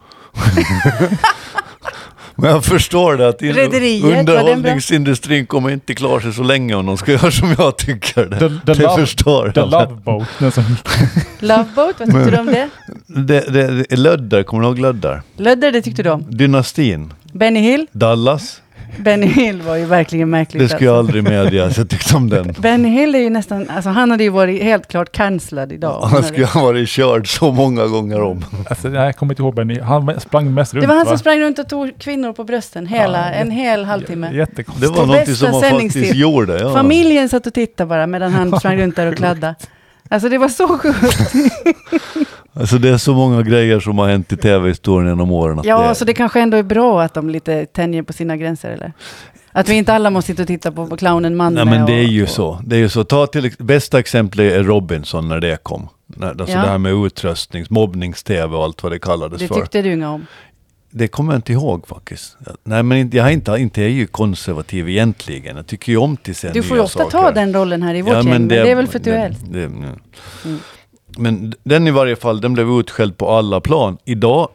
[SPEAKER 2] Men jag förstår det att in-
[SPEAKER 1] Rederiet, var den bra?
[SPEAKER 2] underhållningsindustrin kommer inte klara sig så länge om de ska [laughs] göra som jag tycker. Det,
[SPEAKER 3] The, the,
[SPEAKER 2] det
[SPEAKER 3] love,
[SPEAKER 2] förstår
[SPEAKER 3] the
[SPEAKER 2] jag.
[SPEAKER 3] love boat. Den som, [laughs]
[SPEAKER 1] Loveboat, vad tyckte du om det?
[SPEAKER 2] Det, det, det, Lödder, kommer du ihåg Lödder?
[SPEAKER 1] Lödder, det tyckte du om.
[SPEAKER 2] Dynastin,
[SPEAKER 1] Benny Hill?
[SPEAKER 2] Dallas.
[SPEAKER 1] Benny Hill var ju verkligen märkligt.
[SPEAKER 2] Det ska jag aldrig medge att jag tyckte
[SPEAKER 1] [laughs]
[SPEAKER 2] om den.
[SPEAKER 1] alltså. Benny Hill är ju nästan, alltså han hade ju varit helt klart cancellad idag.
[SPEAKER 2] Han skulle ha varit körd så många gånger om.
[SPEAKER 3] alltså, jag kommer inte ihåg, men han sprang mest runt
[SPEAKER 1] det var han
[SPEAKER 3] va?
[SPEAKER 1] som sprang runt och tog kvinnor på brösten hela,
[SPEAKER 3] Ja,
[SPEAKER 1] en hel halvtimme.
[SPEAKER 2] Det
[SPEAKER 3] Jättekonstigt.
[SPEAKER 2] var
[SPEAKER 1] På
[SPEAKER 2] någonting
[SPEAKER 1] bästa
[SPEAKER 2] som man faktiskt
[SPEAKER 1] sändningstid.
[SPEAKER 2] gjorde. Ja.
[SPEAKER 1] Familjen satt och tittade bara medan han sprang runt där och kladda. Alltså det var så sjukt.
[SPEAKER 2] Alltså det är så många grejer som har hänt i tv-historien genom åren. Att
[SPEAKER 1] Ja,
[SPEAKER 2] det...
[SPEAKER 1] så det kanske ändå är bra att de lite tänjer på sina gränser eller? Att vi inte alla måste sitta och titta på, på clownen Manne.
[SPEAKER 2] Nej men det är ju
[SPEAKER 1] och,
[SPEAKER 2] så. Det är ju så. Ta till, ex- bästa exemplet är Robinson när det kom. När, alltså
[SPEAKER 1] Ja.
[SPEAKER 2] det här med utröstnings, mobbnings-tv och allt vad det kallades
[SPEAKER 1] Det
[SPEAKER 2] för.
[SPEAKER 1] tyckte du inga om.
[SPEAKER 2] Det kommer jag inte ihåg faktiskt. Nej men inte, jag är inte, inte jag är ju konservativ egentligen. Jag tycker ju om till sig
[SPEAKER 1] Du får ju
[SPEAKER 2] nya
[SPEAKER 1] ofta ta
[SPEAKER 2] saker.
[SPEAKER 1] den rollen här i vårt gäng, men det, är väl för att du är äldst. Mm.
[SPEAKER 2] det- ja. Men d- den i varje fall, den blev utskälld på alla plan. Idag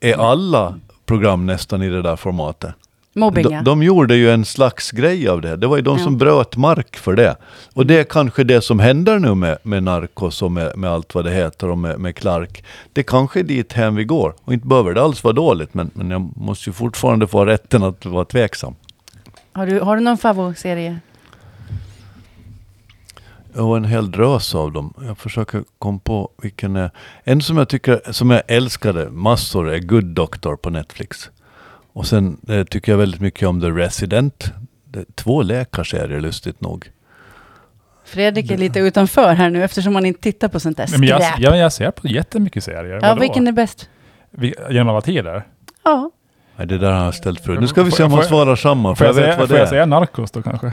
[SPEAKER 2] är alla program nästan i det där formatet.
[SPEAKER 1] Mobbing,
[SPEAKER 2] De,
[SPEAKER 1] ja.
[SPEAKER 2] de gjorde ju en slags grej av det. här. Det var ju de
[SPEAKER 1] Ja.
[SPEAKER 2] som bröt mark för det. Och det är kanske det som händer nu med, med Narcos och med, med allt vad det heter och med, med Clark. Det kanske är dit hem vi går. Och inte behöver det alls vara dåligt, men, men jag måste ju fortfarande få ha rätten att vara tveksam.
[SPEAKER 1] Har, du, har du någon favoritserie?
[SPEAKER 2] Och en hel drös av dem. Jag försöker komma på vilken är. En som jag tycker, som jag älskade massor är Good Doctor på Netflix. Och sen eh, tycker jag väldigt mycket om The Resident. Det är två läkarserier lustigt nog.
[SPEAKER 1] Fredrik är lite utanför här nu eftersom han inte tittar på sånt där
[SPEAKER 3] Nej, Men jag,
[SPEAKER 1] skräp.
[SPEAKER 3] jag, jag ser på jättemycket serier.
[SPEAKER 1] Ja,
[SPEAKER 3] Vadå?
[SPEAKER 1] vilken är bäst?
[SPEAKER 3] Vi- Genom alla tider?
[SPEAKER 1] Ja,
[SPEAKER 2] Nej, det där har jag ställt förut. Nu ska vi
[SPEAKER 3] Får-
[SPEAKER 2] se om han
[SPEAKER 3] får-
[SPEAKER 2] svarar samma, för
[SPEAKER 3] Får
[SPEAKER 2] jag
[SPEAKER 3] jag,
[SPEAKER 2] vet
[SPEAKER 3] säga,
[SPEAKER 2] vad
[SPEAKER 3] får
[SPEAKER 2] det
[SPEAKER 3] jag
[SPEAKER 2] är.
[SPEAKER 3] säga Narcos då kanske?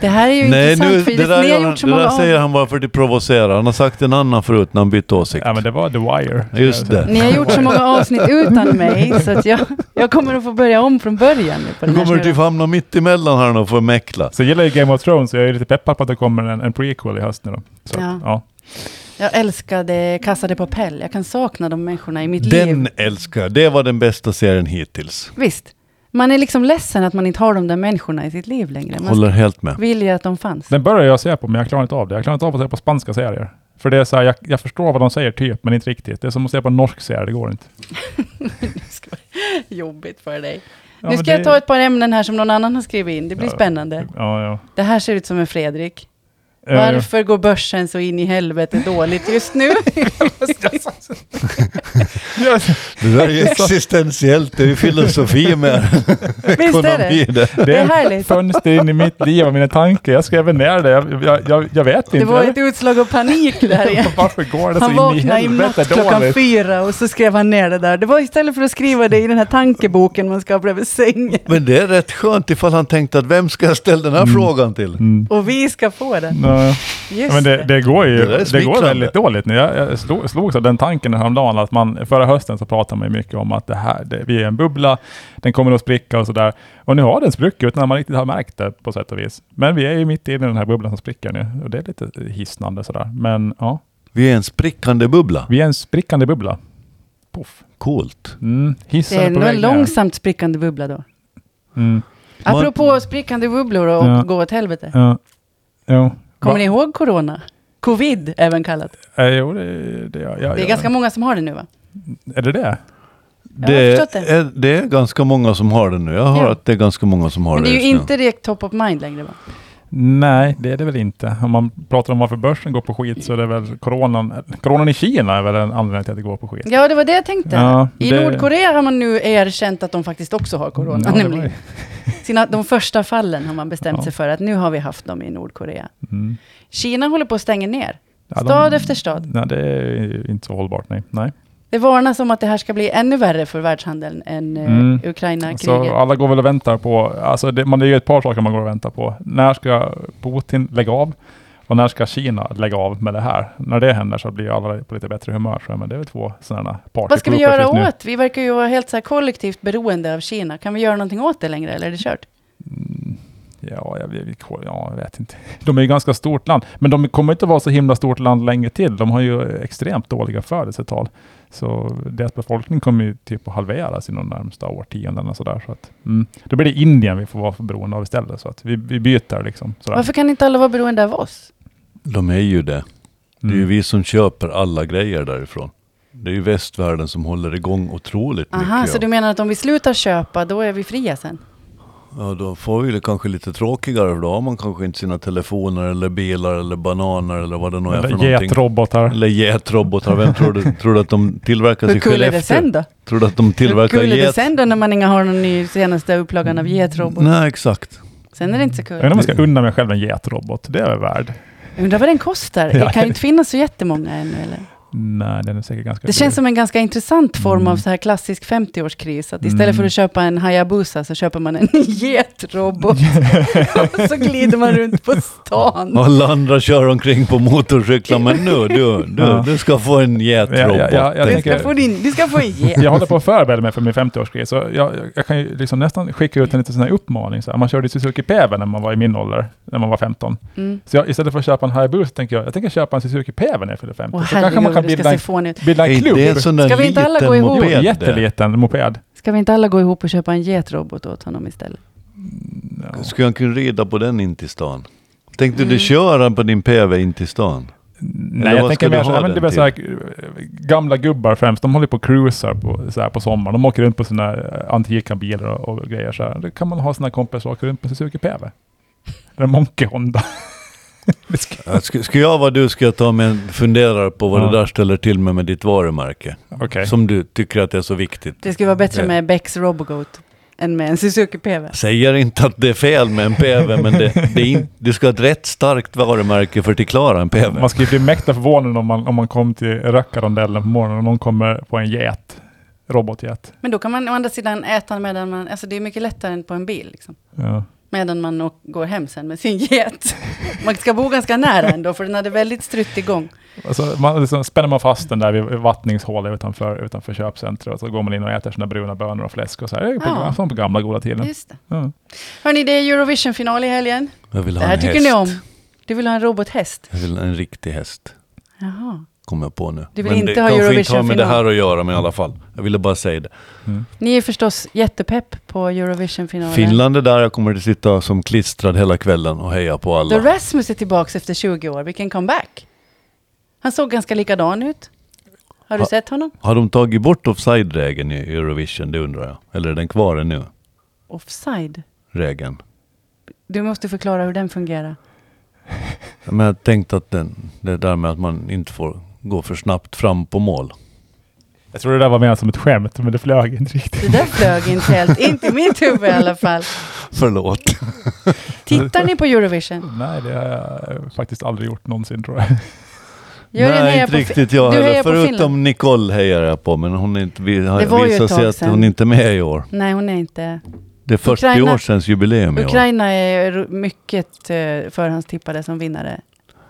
[SPEAKER 1] det här är ju
[SPEAKER 2] Nej,
[SPEAKER 1] intressant
[SPEAKER 2] nu, det
[SPEAKER 1] Filip.
[SPEAKER 2] där,
[SPEAKER 1] Ni
[SPEAKER 2] gör
[SPEAKER 1] har
[SPEAKER 2] han,
[SPEAKER 1] gjort så
[SPEAKER 2] det
[SPEAKER 1] många
[SPEAKER 2] där säger
[SPEAKER 1] av.
[SPEAKER 2] han bara för att provocera. Han har sagt en annan förut när han bytte åsikt.
[SPEAKER 3] Ja, men det var The Wire.
[SPEAKER 2] Just det.
[SPEAKER 1] Ni har gjort så många avsnitt utan mig så att jag, jag kommer att få börja om från början nu på
[SPEAKER 2] Nu
[SPEAKER 1] den här
[SPEAKER 2] kommer du
[SPEAKER 1] snurran.
[SPEAKER 2] typ hamna mitt emellan här nu och få mäckla.
[SPEAKER 3] [laughs] Så jag gillar ju Game of Thrones, så jag är lite peppad på att det kommer en, en prequel i höst nu då. Så,
[SPEAKER 1] Ja.
[SPEAKER 3] ja.
[SPEAKER 1] Jag älskade Casa de Papel. Jag kan sakna de människorna i mitt
[SPEAKER 2] Den
[SPEAKER 1] liv.
[SPEAKER 2] älskar jag. Det var den bästa serien hittills.
[SPEAKER 1] Visst. Man är liksom ledsen att man inte har de där människorna i sitt liv längre. Man
[SPEAKER 2] Håller helt med.
[SPEAKER 1] vill ju att de fanns.
[SPEAKER 3] Den börjar jag se på, men jag klarar inte av det. Jag klarar inte av att se på spanska serier. För det är så här, jag, jag förstår vad de säger typ, men inte riktigt. Det är som att se på en norsk serie, det går inte.
[SPEAKER 1] [laughs] Jobbigt för dig.
[SPEAKER 3] Ja,
[SPEAKER 1] nu
[SPEAKER 3] men
[SPEAKER 1] ska
[SPEAKER 3] det,
[SPEAKER 1] jag ta ett par ämnen här som någon annan har skrivit in. Det blir
[SPEAKER 3] Ja.
[SPEAKER 1] spännande.
[SPEAKER 3] Ja, ja.
[SPEAKER 1] Det här ser ut som en Fredrik.
[SPEAKER 3] Eh, [laughs]
[SPEAKER 1] Varför går börsen så in i helvete dåligt just nu?
[SPEAKER 3] ja,
[SPEAKER 2] Det där
[SPEAKER 1] [laughs]
[SPEAKER 2] är ju existentiellt. Det är ju filosofi med
[SPEAKER 1] Visst är
[SPEAKER 2] ekonomi.
[SPEAKER 1] det?
[SPEAKER 2] Det.
[SPEAKER 3] det
[SPEAKER 1] Det är
[SPEAKER 3] är ett
[SPEAKER 1] härligt.
[SPEAKER 3] fönster in i mitt liv och mina tankar. Jag skrev ner det. Jag, jag, jag, jag vet inte.
[SPEAKER 1] Det var
[SPEAKER 3] Jag
[SPEAKER 1] ett utslag av panik det
[SPEAKER 3] [laughs]
[SPEAKER 1] här igen.
[SPEAKER 3] Varför går det så
[SPEAKER 1] Han
[SPEAKER 3] in i
[SPEAKER 1] vaknade i
[SPEAKER 3] helvete
[SPEAKER 1] natt klockan
[SPEAKER 3] dåligt?
[SPEAKER 1] fyra och så skrev han ner det där. Det var istället för att skriva det i den här tankeboken man ska ha bredvid sängen.
[SPEAKER 2] Men det är rätt skönt ifall han tänkte att vem ska jag ställa den här frågan till?
[SPEAKER 3] Mm.
[SPEAKER 1] Och vi ska få den.
[SPEAKER 3] Ja,
[SPEAKER 1] Just
[SPEAKER 3] ja, men det,
[SPEAKER 1] det.
[SPEAKER 3] det går ju
[SPEAKER 2] Det där är
[SPEAKER 3] det går
[SPEAKER 2] smickrande.
[SPEAKER 3] väldigt dåligt nu. Jag, jag slog, slogs av den tanken häromdagen att man, förra hösten så pratade man ju mycket om att det här, det, vi är en bubbla, den kommer att spricka och sådär. Och nu har den spruckit utan att man riktigt har märkt det på sätt och vis. Men vi är ju mitt i den här bubblan som spricker nu och det är lite hisnande sådär. Men ja,
[SPEAKER 2] Vi är en sprickande bubbla.
[SPEAKER 3] vi är en sprickande bubbla. Poff.
[SPEAKER 2] Coolt.
[SPEAKER 3] Mm.
[SPEAKER 1] Det
[SPEAKER 3] Hissen
[SPEAKER 1] är
[SPEAKER 3] på
[SPEAKER 1] nog
[SPEAKER 3] väg
[SPEAKER 1] en
[SPEAKER 3] ner.
[SPEAKER 1] långsamt sprickande bubbla då.
[SPEAKER 3] Mm.
[SPEAKER 2] Man-
[SPEAKER 1] Apropå sprickande bubblor och
[SPEAKER 3] Ja.
[SPEAKER 1] gå åt helvete.
[SPEAKER 3] Ja. Jo.
[SPEAKER 1] Kommer
[SPEAKER 3] Va-
[SPEAKER 1] ni ihåg corona? Covid även kallat.
[SPEAKER 3] Eh, jo, det, det, ja, ja,
[SPEAKER 1] Det är
[SPEAKER 3] ja.
[SPEAKER 1] ganska många som har det nu va?
[SPEAKER 3] Är det det?
[SPEAKER 1] Jag har
[SPEAKER 2] Det
[SPEAKER 1] förstått det.
[SPEAKER 2] är, det är ganska många som har det nu. Jag hör
[SPEAKER 1] Ja.
[SPEAKER 2] att det är ganska många som har
[SPEAKER 1] Men det är ju
[SPEAKER 2] just nu.
[SPEAKER 1] inte direkt top of mind längre va?
[SPEAKER 3] Nej, det är det väl inte. Om man pratar om varför börsen går på skit så är det väl coronan. Coronan i Kina är väl en anledning till att det går på skit.
[SPEAKER 1] Ja, det var det jag tänkte.
[SPEAKER 3] Ja,
[SPEAKER 1] I
[SPEAKER 3] det-
[SPEAKER 1] Nordkorea har man nu erkänt att de faktiskt också har corona.
[SPEAKER 3] Ja, det var
[SPEAKER 1] nämligen.
[SPEAKER 3] ju-
[SPEAKER 1] Sina, de första fallen har man bestämt
[SPEAKER 3] Ja.
[SPEAKER 1] sig för att nu har vi haft dem i Nordkorea.
[SPEAKER 3] Mm.
[SPEAKER 1] Kina håller på att stänga ner,
[SPEAKER 3] Ja, de-
[SPEAKER 1] stad efter stad.
[SPEAKER 3] Nej, det är ju inte så hållbart. Nej. nej.
[SPEAKER 1] Det varnas om att det här ska bli ännu värre för världshandeln än eh,
[SPEAKER 3] Mm.
[SPEAKER 1] Ukraina-kriget.
[SPEAKER 3] Så alla går väl och väntar på, alltså det, man, det är ju ett par saker man går och väntar på. När ska Putin lägga av? Och när ska Kina lägga av med det här? När det händer så blir alla på lite bättre humör. tror jag, Men det är väl två sådana party
[SPEAKER 1] Vad ska vi
[SPEAKER 3] groupers
[SPEAKER 1] göra
[SPEAKER 3] just nu.
[SPEAKER 1] åt? Vi verkar ju vara helt så här kollektivt beroende av Kina. Kan vi göra någonting åt det längre eller är det kört?
[SPEAKER 3] Mm, Ja jag, vet- ja, jag vet inte. [laughs] De är ju ganska stort land, men de kommer inte vara så himla stort land länge till. De har ju extremt dåliga födelsetal. Så deras befolkning kommer ju typ att halveras inom de närmsta årtiondena. Sådär, så att, mm. Då blir det Indien vi får vara för beroende av istället. Så att vi, vi byter liksom. Sådär.
[SPEAKER 1] Varför kan inte alla vara beroende av oss?
[SPEAKER 2] De är ju det. Det är ju
[SPEAKER 3] Mm.
[SPEAKER 2] vi som köper alla grejer därifrån. Det är ju västvärlden som håller igång otroligt
[SPEAKER 1] Aha,
[SPEAKER 2] mycket.
[SPEAKER 1] så du menar att om vi slutar köpa, då är vi fria sen?
[SPEAKER 2] Ja, då får vi det kanske lite tråkigare för då har man kanske inte sina telefoner eller bilar eller bananer eller vad det nu är för
[SPEAKER 3] Eller
[SPEAKER 2] någonting.
[SPEAKER 3] Mm. Getrobotar.
[SPEAKER 2] Eller getrobotar. Vem tror du, tror du att de tillverkas
[SPEAKER 1] Hur
[SPEAKER 2] i
[SPEAKER 1] kul
[SPEAKER 2] Skellefteå?
[SPEAKER 1] är det sen då?
[SPEAKER 2] Tror du att de
[SPEAKER 1] Hur
[SPEAKER 2] tillverkar
[SPEAKER 1] kul är det
[SPEAKER 2] get?
[SPEAKER 1] sen då när man inte har någon ny senaste upplagan
[SPEAKER 3] Mm.
[SPEAKER 1] av Getrobot?
[SPEAKER 2] Nej, exakt.
[SPEAKER 1] Sen är det inte så
[SPEAKER 3] Jag vet inte
[SPEAKER 1] kul.
[SPEAKER 3] om jag ska unna mig själv en getrobot. Det är väl värd.
[SPEAKER 1] Undrar vad den kostar?
[SPEAKER 3] Ja.
[SPEAKER 1] Det kan ju inte finnas så jättemånga ännu eller?
[SPEAKER 3] Nej, den är säkert ganska
[SPEAKER 1] Det känns som en ganska intressant form av
[SPEAKER 3] Mm.
[SPEAKER 1] så här klassisk 50-årskris. Att
[SPEAKER 3] Mm.
[SPEAKER 1] istället för att köpa en Hayabusa så köper man en [laughs]
[SPEAKER 3] [laughs]
[SPEAKER 1] getrobot. och så glider man runt på stan.
[SPEAKER 2] Alla andra kör omkring på motorcyklar, men nu, du, du,
[SPEAKER 3] Ja.
[SPEAKER 2] du ska få en getrobot.
[SPEAKER 3] Ja, ja, ja, jag
[SPEAKER 1] Du
[SPEAKER 3] tänker-
[SPEAKER 1] ska få, din, du ska få en get.
[SPEAKER 3] jag håller på att förbereda mig för min 50-årsgrej, så jag, jag, jag kan ju liksom nästan skicka ut en liten sån här uppmaning. Så här. Man körde ju Suzuki Päve när man var i min ålder. när man var 15.
[SPEAKER 1] Mm.
[SPEAKER 3] Så jag, istället för att köpa en Hayabusa tänker jag, jag tänker köpa en Suzuki Päven när jag fyller 50.
[SPEAKER 1] Åh
[SPEAKER 3] så kanske man
[SPEAKER 1] herregud,
[SPEAKER 3] kan
[SPEAKER 1] det ska
[SPEAKER 3] bilda
[SPEAKER 1] se
[SPEAKER 3] en,
[SPEAKER 1] fånigt ut.
[SPEAKER 3] bilda en
[SPEAKER 2] Är
[SPEAKER 3] klubb.
[SPEAKER 2] det en sån där
[SPEAKER 1] Ska vi inte alla gå
[SPEAKER 2] liten
[SPEAKER 1] ihop?
[SPEAKER 3] Jo,
[SPEAKER 2] moped? där?
[SPEAKER 3] jätteliten moped.
[SPEAKER 1] Ska vi inte alla gå ihop och köpa en getrobot åt honom istället?
[SPEAKER 3] Ja.
[SPEAKER 2] Skulle han kunna rida på den in till stan? Tänkte
[SPEAKER 1] Mm.
[SPEAKER 2] du köra på din PV in till stan?
[SPEAKER 3] Nej,
[SPEAKER 2] Eller
[SPEAKER 3] jag
[SPEAKER 2] vad
[SPEAKER 3] tänker
[SPEAKER 2] ska du
[SPEAKER 3] mer så
[SPEAKER 2] ha
[SPEAKER 3] här, men det
[SPEAKER 2] den
[SPEAKER 3] är väl så här, eh, gamla gubbar främst, de håller på och cruisar på, så här, på sommaren. De åker runt på sina eh, antika bilar och, och grejer så här. Då kan man ha sina kompisar som åker runt på Suzuki PV. Eller Monkey Honda. [laughs] Det ska-
[SPEAKER 2] Ja, sk- Ska jag vara du ska jag ta mig en funderare på vad
[SPEAKER 3] Ja.
[SPEAKER 2] det där ställer till med med ditt varumärke.
[SPEAKER 3] Okej.
[SPEAKER 2] Som du tycker att det är så viktigt.
[SPEAKER 1] Det skulle vara bättre
[SPEAKER 2] Det-
[SPEAKER 1] med Becks Robogoat än med en Suzuki PV.
[SPEAKER 2] Säger inte att det är fel med en PV, men det, det är in, du ska ha ett rätt starkt varumärke för att klara en PV.
[SPEAKER 3] Man skulle bli mäkta förvånad om man, om man kom till rökarrondellen på morgonen och någon kommer på en get. Robotjet.
[SPEAKER 1] Men då kan man å andra sidan äta medan man... Alltså det är mycket lättare än på en bil. Liksom.
[SPEAKER 3] Ja.
[SPEAKER 1] Medan man å- går hem sen med sin get. Man ska bo ganska nära ändå, för den hade väldigt struttig gång.
[SPEAKER 3] Alltså, man, liksom, spänner man fast den där vid vattningshålet utanför, utanför köpcentret och så går man in och äter sina bruna bönor och fläsk och så här. Det är på,
[SPEAKER 1] Ja.
[SPEAKER 3] som på gamla goda tiden.
[SPEAKER 1] Just det.
[SPEAKER 3] Ja.
[SPEAKER 1] Hörni, det är Eurovision-final i helgen.
[SPEAKER 2] Jag vill
[SPEAKER 1] Det
[SPEAKER 2] ha
[SPEAKER 1] här
[SPEAKER 2] en
[SPEAKER 1] tycker
[SPEAKER 2] häst.
[SPEAKER 1] ni om. Du vill ha en robothäst?
[SPEAKER 2] Jag vill ha en riktig häst,
[SPEAKER 1] Jaha.
[SPEAKER 2] kommer jag på nu.
[SPEAKER 1] Du vill
[SPEAKER 2] men
[SPEAKER 1] inte
[SPEAKER 2] det
[SPEAKER 1] ha
[SPEAKER 2] kanske inte har med det
[SPEAKER 1] Eurovision-final.
[SPEAKER 2] här att göra, men i alla fall. Jag ville bara säga det.
[SPEAKER 1] Ni är förstås jättepepp på Eurovision-finalen.
[SPEAKER 2] Finland är där, jag kommer att sitta som klistrad hela kvällen och heja på alla.
[SPEAKER 1] The Rasmus är tillbaka efter 20 år. Vilken comeback! Han såg ganska likadan ut. Har du
[SPEAKER 2] Ha-
[SPEAKER 1] sett honom?
[SPEAKER 2] Har de tagit bort offside-regeln i Eurovision, det undrar jag. Eller är den kvar ännu,
[SPEAKER 1] Offside.
[SPEAKER 2] regeln?
[SPEAKER 1] Du måste förklara hur den fungerar.
[SPEAKER 2] Men jag tänkte att den, det där med att man inte får gå för snabbt fram på mål.
[SPEAKER 3] Jag tror det där var menat som ett skämt, men det flög inte riktigt.
[SPEAKER 1] Det där flög inte helt. inte i mitt huvud i alla fall.
[SPEAKER 2] Förlåt.
[SPEAKER 1] Tittar ni på Eurovision?
[SPEAKER 3] Nej, det har jag faktiskt aldrig gjort någonsin tror jag.
[SPEAKER 1] Jörgen
[SPEAKER 2] Nej,
[SPEAKER 1] hejar
[SPEAKER 2] inte
[SPEAKER 1] på Fi-
[SPEAKER 2] riktigt jag
[SPEAKER 1] du
[SPEAKER 2] heller.
[SPEAKER 1] hejar på
[SPEAKER 2] Förutom
[SPEAKER 1] Finland.
[SPEAKER 2] Nicole hejar jag på, men hon är inte, vi
[SPEAKER 1] Det var
[SPEAKER 2] har
[SPEAKER 1] ju ett
[SPEAKER 2] visat sig
[SPEAKER 1] tag
[SPEAKER 2] att
[SPEAKER 1] sedan.
[SPEAKER 2] hon inte är med i år.
[SPEAKER 1] Nej, hon är inte.
[SPEAKER 2] Det är 40
[SPEAKER 1] Ukraina-
[SPEAKER 2] år sedan jubileum i år.
[SPEAKER 1] Ukraina är ro- mycket eh, förhandstippade som vinnare.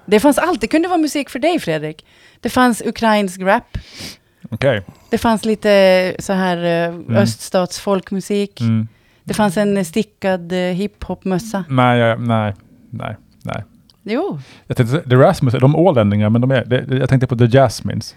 [SPEAKER 1] Det fanns allt. Det kunde vara musik för dig, Fredrik. Det fanns ukrainsk rap.
[SPEAKER 3] Okej.
[SPEAKER 1] Det fanns lite så här eh, öststats folkmusik.
[SPEAKER 3] Mm.
[SPEAKER 1] Det fanns en eh, stickad eh, hiphopmössa.
[SPEAKER 3] Nej, jag, nej, nej, nej.
[SPEAKER 1] Jo,
[SPEAKER 3] Jag tänkte, The Rasmus, de är ålänningar, men de är, det, jag tänkte på The Jasmines.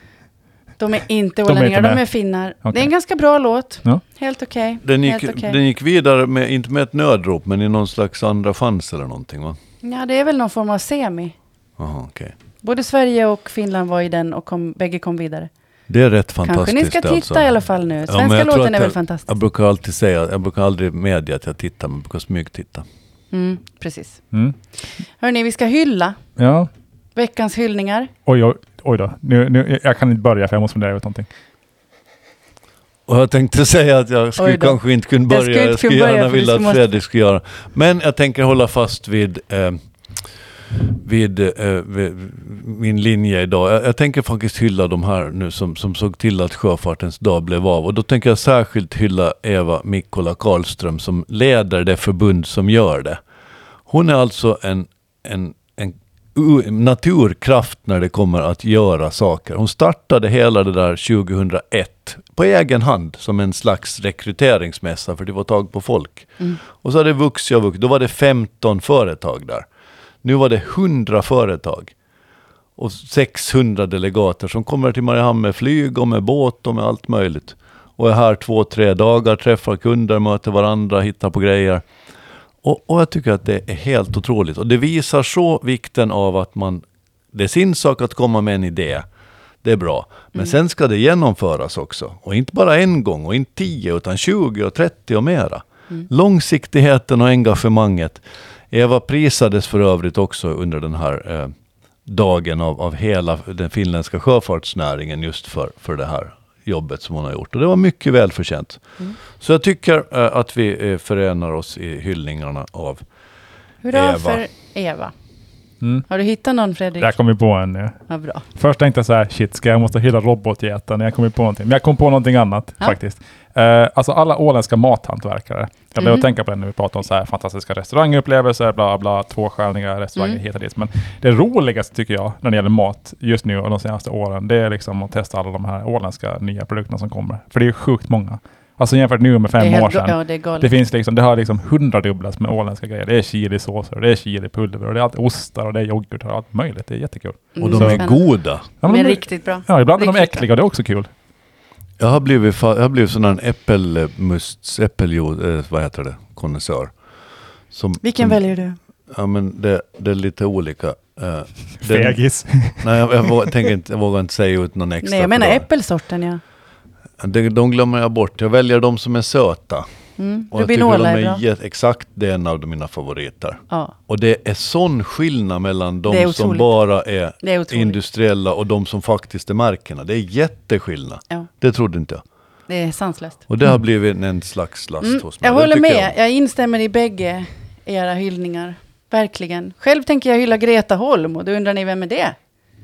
[SPEAKER 1] de är inte
[SPEAKER 3] De är
[SPEAKER 1] ålänningar,
[SPEAKER 3] inte
[SPEAKER 1] de,
[SPEAKER 3] med.
[SPEAKER 1] är finnar.
[SPEAKER 3] Okej.
[SPEAKER 1] Det är en ganska bra låt.
[SPEAKER 3] Ja.
[SPEAKER 1] Helt okej.
[SPEAKER 2] Den gick,
[SPEAKER 1] Helt okej.
[SPEAKER 2] den gick vidare, med, inte med ett nödrop, men i någon slags andra chans eller någonting va?
[SPEAKER 1] Ja, det är väl någon form av semi.
[SPEAKER 2] Aha, okej.
[SPEAKER 1] Både Sverige och Finland var i den och kom, bägge kom vidare.
[SPEAKER 2] Det är rätt fantastiskt
[SPEAKER 1] Kanske ni ska titta
[SPEAKER 2] alltså.
[SPEAKER 1] i alla fall nu.
[SPEAKER 2] men
[SPEAKER 1] Svenska
[SPEAKER 2] jag tror
[SPEAKER 1] låten
[SPEAKER 2] att
[SPEAKER 1] är väl
[SPEAKER 2] jag-
[SPEAKER 1] fantastisk.
[SPEAKER 2] Jag brukar alltid säga, jag brukar aldrig medge att jag tittar, men jag brukar smygtitta.
[SPEAKER 1] Mm, precis.
[SPEAKER 3] Mm.
[SPEAKER 1] Hörni, vi ska hylla
[SPEAKER 3] Ja.
[SPEAKER 1] veckans hyllningar.
[SPEAKER 3] Oj, oj, oj då. Nu, nu, jag kan inte börja för jag måste fundera ut någonting.
[SPEAKER 2] Och jag tänkte säga att jag skulle
[SPEAKER 1] Oj då.
[SPEAKER 2] kanske inte kunna
[SPEAKER 1] Jag
[SPEAKER 2] börja.
[SPEAKER 1] skulle
[SPEAKER 2] Jag skulle,
[SPEAKER 1] inte kunna börja,
[SPEAKER 2] gärna
[SPEAKER 1] för du
[SPEAKER 2] vilja att
[SPEAKER 1] måste-
[SPEAKER 2] Fredrik skulle göra. Men jag tänker hålla fast vid, eh, vid, eh, vid min linje idag. Jag, jag tänker faktiskt hylla de här nu som, som såg till att Sjöfartens dag blev av. Och då tänker jag särskilt hylla Eva Mikkola Karlström som leder det förbund som gör det. Hon är alltså en, en, en u- naturkraft när det kommer att göra saker. Hon startade hela det där 2001 på egen hand som en slags rekryteringsmässa för det var tag på folk. Och så hade det vuxit och vuxit. Då var det 15 företag där. Nu var det 100 företag och 600 delegater som kommer till Mariehamn med flyg och med båt och med allt möjligt. Och är här två, tre dagar, träffar kunder, möter varandra, hittar på grejer. Och, och jag tycker att det är helt otroligt. Och det visar så vikten av att man... Det är sin sak att komma med en idé. Det är bra. Men sen ska det genomföras också. Och inte bara en gång och inte tio, utan 20 och 30 och mera. Långsiktigheten och engagemanget. Eva prisades för övrigt också under den här eh, dagen av, av hela den finländska sjöfartsnäringen just för, för det här jobbet som hon har gjort. Och det var mycket välförtjänt. Så jag tycker eh, att vi eh, förenar oss i hyllningarna av
[SPEAKER 1] Hurra
[SPEAKER 2] Eva.
[SPEAKER 1] för Eva.
[SPEAKER 3] Mm.
[SPEAKER 1] Har du hittat någon, Fredrik?
[SPEAKER 3] Där kom vi på en. Ja.
[SPEAKER 1] Vad bra.
[SPEAKER 3] Först tänkte jag så här, shit, ska jag måste hylla robotjätten? Jag kom ju på någonting. Men jag kom på någonting annat
[SPEAKER 1] Ja.
[SPEAKER 3] faktiskt. Eh, alltså alla åländska mathantverkare. Jag blev
[SPEAKER 1] Mm.
[SPEAKER 3] att tänka på det när vi pratade om så här fantastiska restaurangupplevelser, bla bla, tvåstjärniga restauranger
[SPEAKER 1] Mm.
[SPEAKER 3] hit och dit. Men det roligaste tycker jag när det gäller mat just nu och de senaste åren, det är liksom att testa alla de här åländska nya produkterna som kommer. För det är ju sjukt många. Alltså jämfört nu med
[SPEAKER 1] det är
[SPEAKER 3] fem år
[SPEAKER 1] helt-
[SPEAKER 3] sedan.
[SPEAKER 1] Ja, det är galet.
[SPEAKER 3] Det finns liksom, det har liksom hundradubblats med åländska grejer. Det är chilisåser, och det är chilipulver och det är allt ostar och det är yoghurt och allt möjligt. Det är jättekul.
[SPEAKER 2] Och
[SPEAKER 1] Mm,
[SPEAKER 2] de är
[SPEAKER 1] spännande.
[SPEAKER 2] goda.
[SPEAKER 3] Ja,
[SPEAKER 1] De är
[SPEAKER 3] men-
[SPEAKER 1] riktigt bra.
[SPEAKER 3] Ja, ibland är de
[SPEAKER 1] riktigt
[SPEAKER 3] äckliga och det är också kul.
[SPEAKER 2] Jag har blivit, fa- jag har blivit sån här äppelmust, äppeljuice, eh, vad heter det, konnässör. Som-
[SPEAKER 1] Vilken
[SPEAKER 2] som-
[SPEAKER 1] väljer du?
[SPEAKER 2] Ja men det, det är lite olika. Eh, den-
[SPEAKER 3] Fegis.
[SPEAKER 2] Nej, jag, jag, vågar, tänker inte, jag vågar inte säga ut någon extra.
[SPEAKER 1] Nej, jag
[SPEAKER 2] för
[SPEAKER 1] menar
[SPEAKER 2] då-
[SPEAKER 1] äppelsorten, ja.
[SPEAKER 2] De, de glömmer jag bort. Jag väljer de som är söta.
[SPEAKER 1] Mm.
[SPEAKER 2] Och jag tycker de
[SPEAKER 1] Rubinola är bra.
[SPEAKER 2] är jät- exakt, det är en av mina favoriter.
[SPEAKER 1] Ja,
[SPEAKER 2] Och det är sån skillnad mellan
[SPEAKER 1] Det är
[SPEAKER 2] de som
[SPEAKER 1] otroligt.
[SPEAKER 2] bara är
[SPEAKER 1] det är otroligt.
[SPEAKER 2] industriella och de som faktiskt är märkena. Det är jätteskillnad.
[SPEAKER 1] Ja,
[SPEAKER 2] Det trodde inte jag.
[SPEAKER 1] det är sanslöst.
[SPEAKER 2] Och det har blivit en slags last
[SPEAKER 1] Mm.
[SPEAKER 2] hos mig.
[SPEAKER 1] Jag
[SPEAKER 2] Alltså, Det
[SPEAKER 1] håller
[SPEAKER 2] tycker
[SPEAKER 1] med. Jag. instämmer i bägge era hyllningar. Verkligen. Själv tänker jag hylla Greta Holm och då undrar ni vem är det?
[SPEAKER 3] [laughs]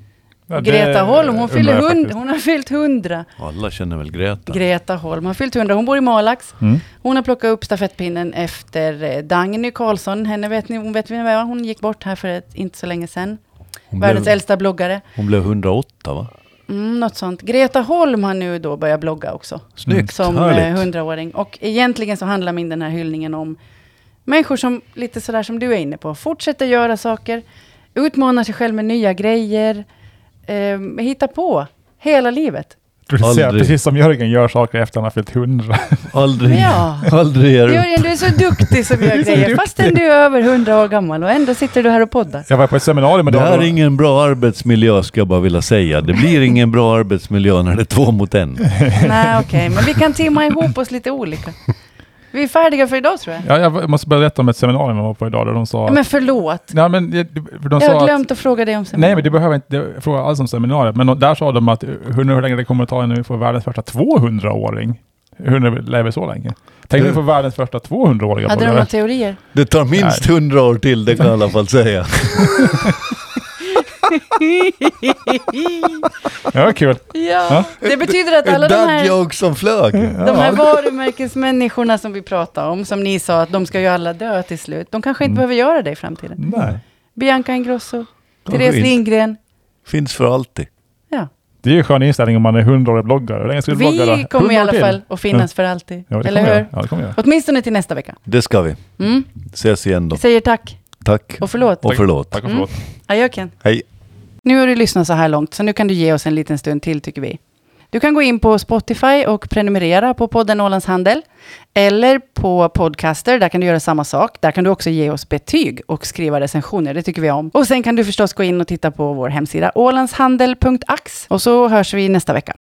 [SPEAKER 3] Ja,
[SPEAKER 1] Greta Holm, hon, fyller
[SPEAKER 3] undrar jag
[SPEAKER 1] hund,
[SPEAKER 3] faktiskt.
[SPEAKER 1] hon har fyllt hundra.
[SPEAKER 2] om. Alla känner väl Greta?
[SPEAKER 1] Greta Holm har fyllt hundra. Hon bor i Malax.
[SPEAKER 3] Mm.
[SPEAKER 1] Hon har plockat upp stafettpinnen efter eh, Dagny Karlsson. Henne vet ni, hon vet vem det var. Hon gick bort här för ett, inte så länge sedan.
[SPEAKER 2] hon,
[SPEAKER 1] Världens
[SPEAKER 2] blev,
[SPEAKER 1] äldsta bloggare.
[SPEAKER 2] hon blev 108 va?
[SPEAKER 1] Mm, något sånt. Greta Holm har nu då börjat blogga också.
[SPEAKER 2] Snyggt,
[SPEAKER 1] Som eh,
[SPEAKER 2] härligt.
[SPEAKER 1] hundraåring. Och egentligen så handlar min den här hyllningen om människor som, lite sådär som du är inne på, fortsätter göra saker, utmanar sig själv med nya grejer, eh, hittar på hela livet.
[SPEAKER 3] Jag trodde du säga,
[SPEAKER 2] Aldrig.
[SPEAKER 3] precis som Jörgen gör saker efter han har fyllt hundra.
[SPEAKER 2] Aldrig,
[SPEAKER 1] Ja.
[SPEAKER 2] [laughs] aldrig är du...
[SPEAKER 1] Jörgen, du är så duktig som
[SPEAKER 3] [laughs] Du
[SPEAKER 1] gör
[SPEAKER 3] är så
[SPEAKER 1] grejer,
[SPEAKER 3] duktig.
[SPEAKER 1] fastän du är över hundra år gammal och ändå sitter du här och
[SPEAKER 3] [laughs]
[SPEAKER 1] poddar.
[SPEAKER 3] [laughs] Jag var på ett seminarium
[SPEAKER 2] Det här
[SPEAKER 3] idag.
[SPEAKER 2] är ingen bra arbetsmiljö ska jag bara vilja säga. Det blir ingen bra arbetsmiljö när det är två mot en.
[SPEAKER 1] Nej, okej, men vi kan timma ihop oss lite olika. Vi är färdiga för idag tror jag.
[SPEAKER 3] Ja, jag måste berätta om ett seminarium jag var på idag där de sa...
[SPEAKER 1] Men förlåt,
[SPEAKER 3] nej, men, det- för de
[SPEAKER 1] jag
[SPEAKER 3] sa
[SPEAKER 1] har
[SPEAKER 3] att-
[SPEAKER 1] glömt att fråga dig om sen.
[SPEAKER 3] Nej, men du behöver inte det- fråga alls om seminariet. Men där sa de att hur, hur länge det kommer att ta innan vi får världens första 200-åring. Hur lever vi så länge? Tänk om vi får världens första 200-åriga
[SPEAKER 1] Hade du
[SPEAKER 3] bloggare.
[SPEAKER 1] några teorier?
[SPEAKER 2] Det tar minst hundra år till, det kan jag i alla
[SPEAKER 1] [laughs]
[SPEAKER 2] fall säga.
[SPEAKER 3] Ja, vad kul.
[SPEAKER 1] Ja, det betyder att alla de
[SPEAKER 2] Dad
[SPEAKER 1] här,
[SPEAKER 2] jag som flög.
[SPEAKER 1] de här varumärkesmänniskorna som vi pratar om, som ni sa att de ska ju alla dö till slut, de kanske inte
[SPEAKER 3] Mm.
[SPEAKER 1] behöver göra det i framtiden.
[SPEAKER 3] Nej.
[SPEAKER 1] Bianca Ingrosso,
[SPEAKER 2] Kanske
[SPEAKER 1] Therese
[SPEAKER 2] inte.
[SPEAKER 1] Lindgren,
[SPEAKER 2] Finns för alltid.
[SPEAKER 1] ja.
[SPEAKER 3] Det är ju en skön inställning om man är 100-årig bloggare. Hur länge ska du blogga då?
[SPEAKER 1] Vi kommer i
[SPEAKER 3] 100 år
[SPEAKER 1] alla
[SPEAKER 3] till?
[SPEAKER 1] fall att finnas för alltid,
[SPEAKER 3] Ja, det
[SPEAKER 1] eller
[SPEAKER 3] kommer jag.
[SPEAKER 1] hur?
[SPEAKER 3] Ja, det kommer jag.
[SPEAKER 1] Åtminstone till nästa vecka.
[SPEAKER 2] Det ska vi.
[SPEAKER 1] Mm.
[SPEAKER 2] Ses igen då.
[SPEAKER 1] Vi säger tack
[SPEAKER 2] Tack
[SPEAKER 1] och förlåt.
[SPEAKER 2] och förlåt.
[SPEAKER 3] Tack och
[SPEAKER 1] Mm.
[SPEAKER 3] förlåt.
[SPEAKER 1] Ajöken.
[SPEAKER 2] Hej.
[SPEAKER 1] Nu har du lyssnat så här långt, så nu kan du ge oss en liten stund till tycker vi. Du kan gå in på Spotify och prenumerera på podden Ålands Handel. Eller på Podcaster, där kan du göra samma sak. Där kan du också ge oss betyg och skriva recensioner, det tycker vi om. Och sen kan du förstås gå in och titta på vår hemsida ålandshandel.ax. Och så hörs vi nästa vecka.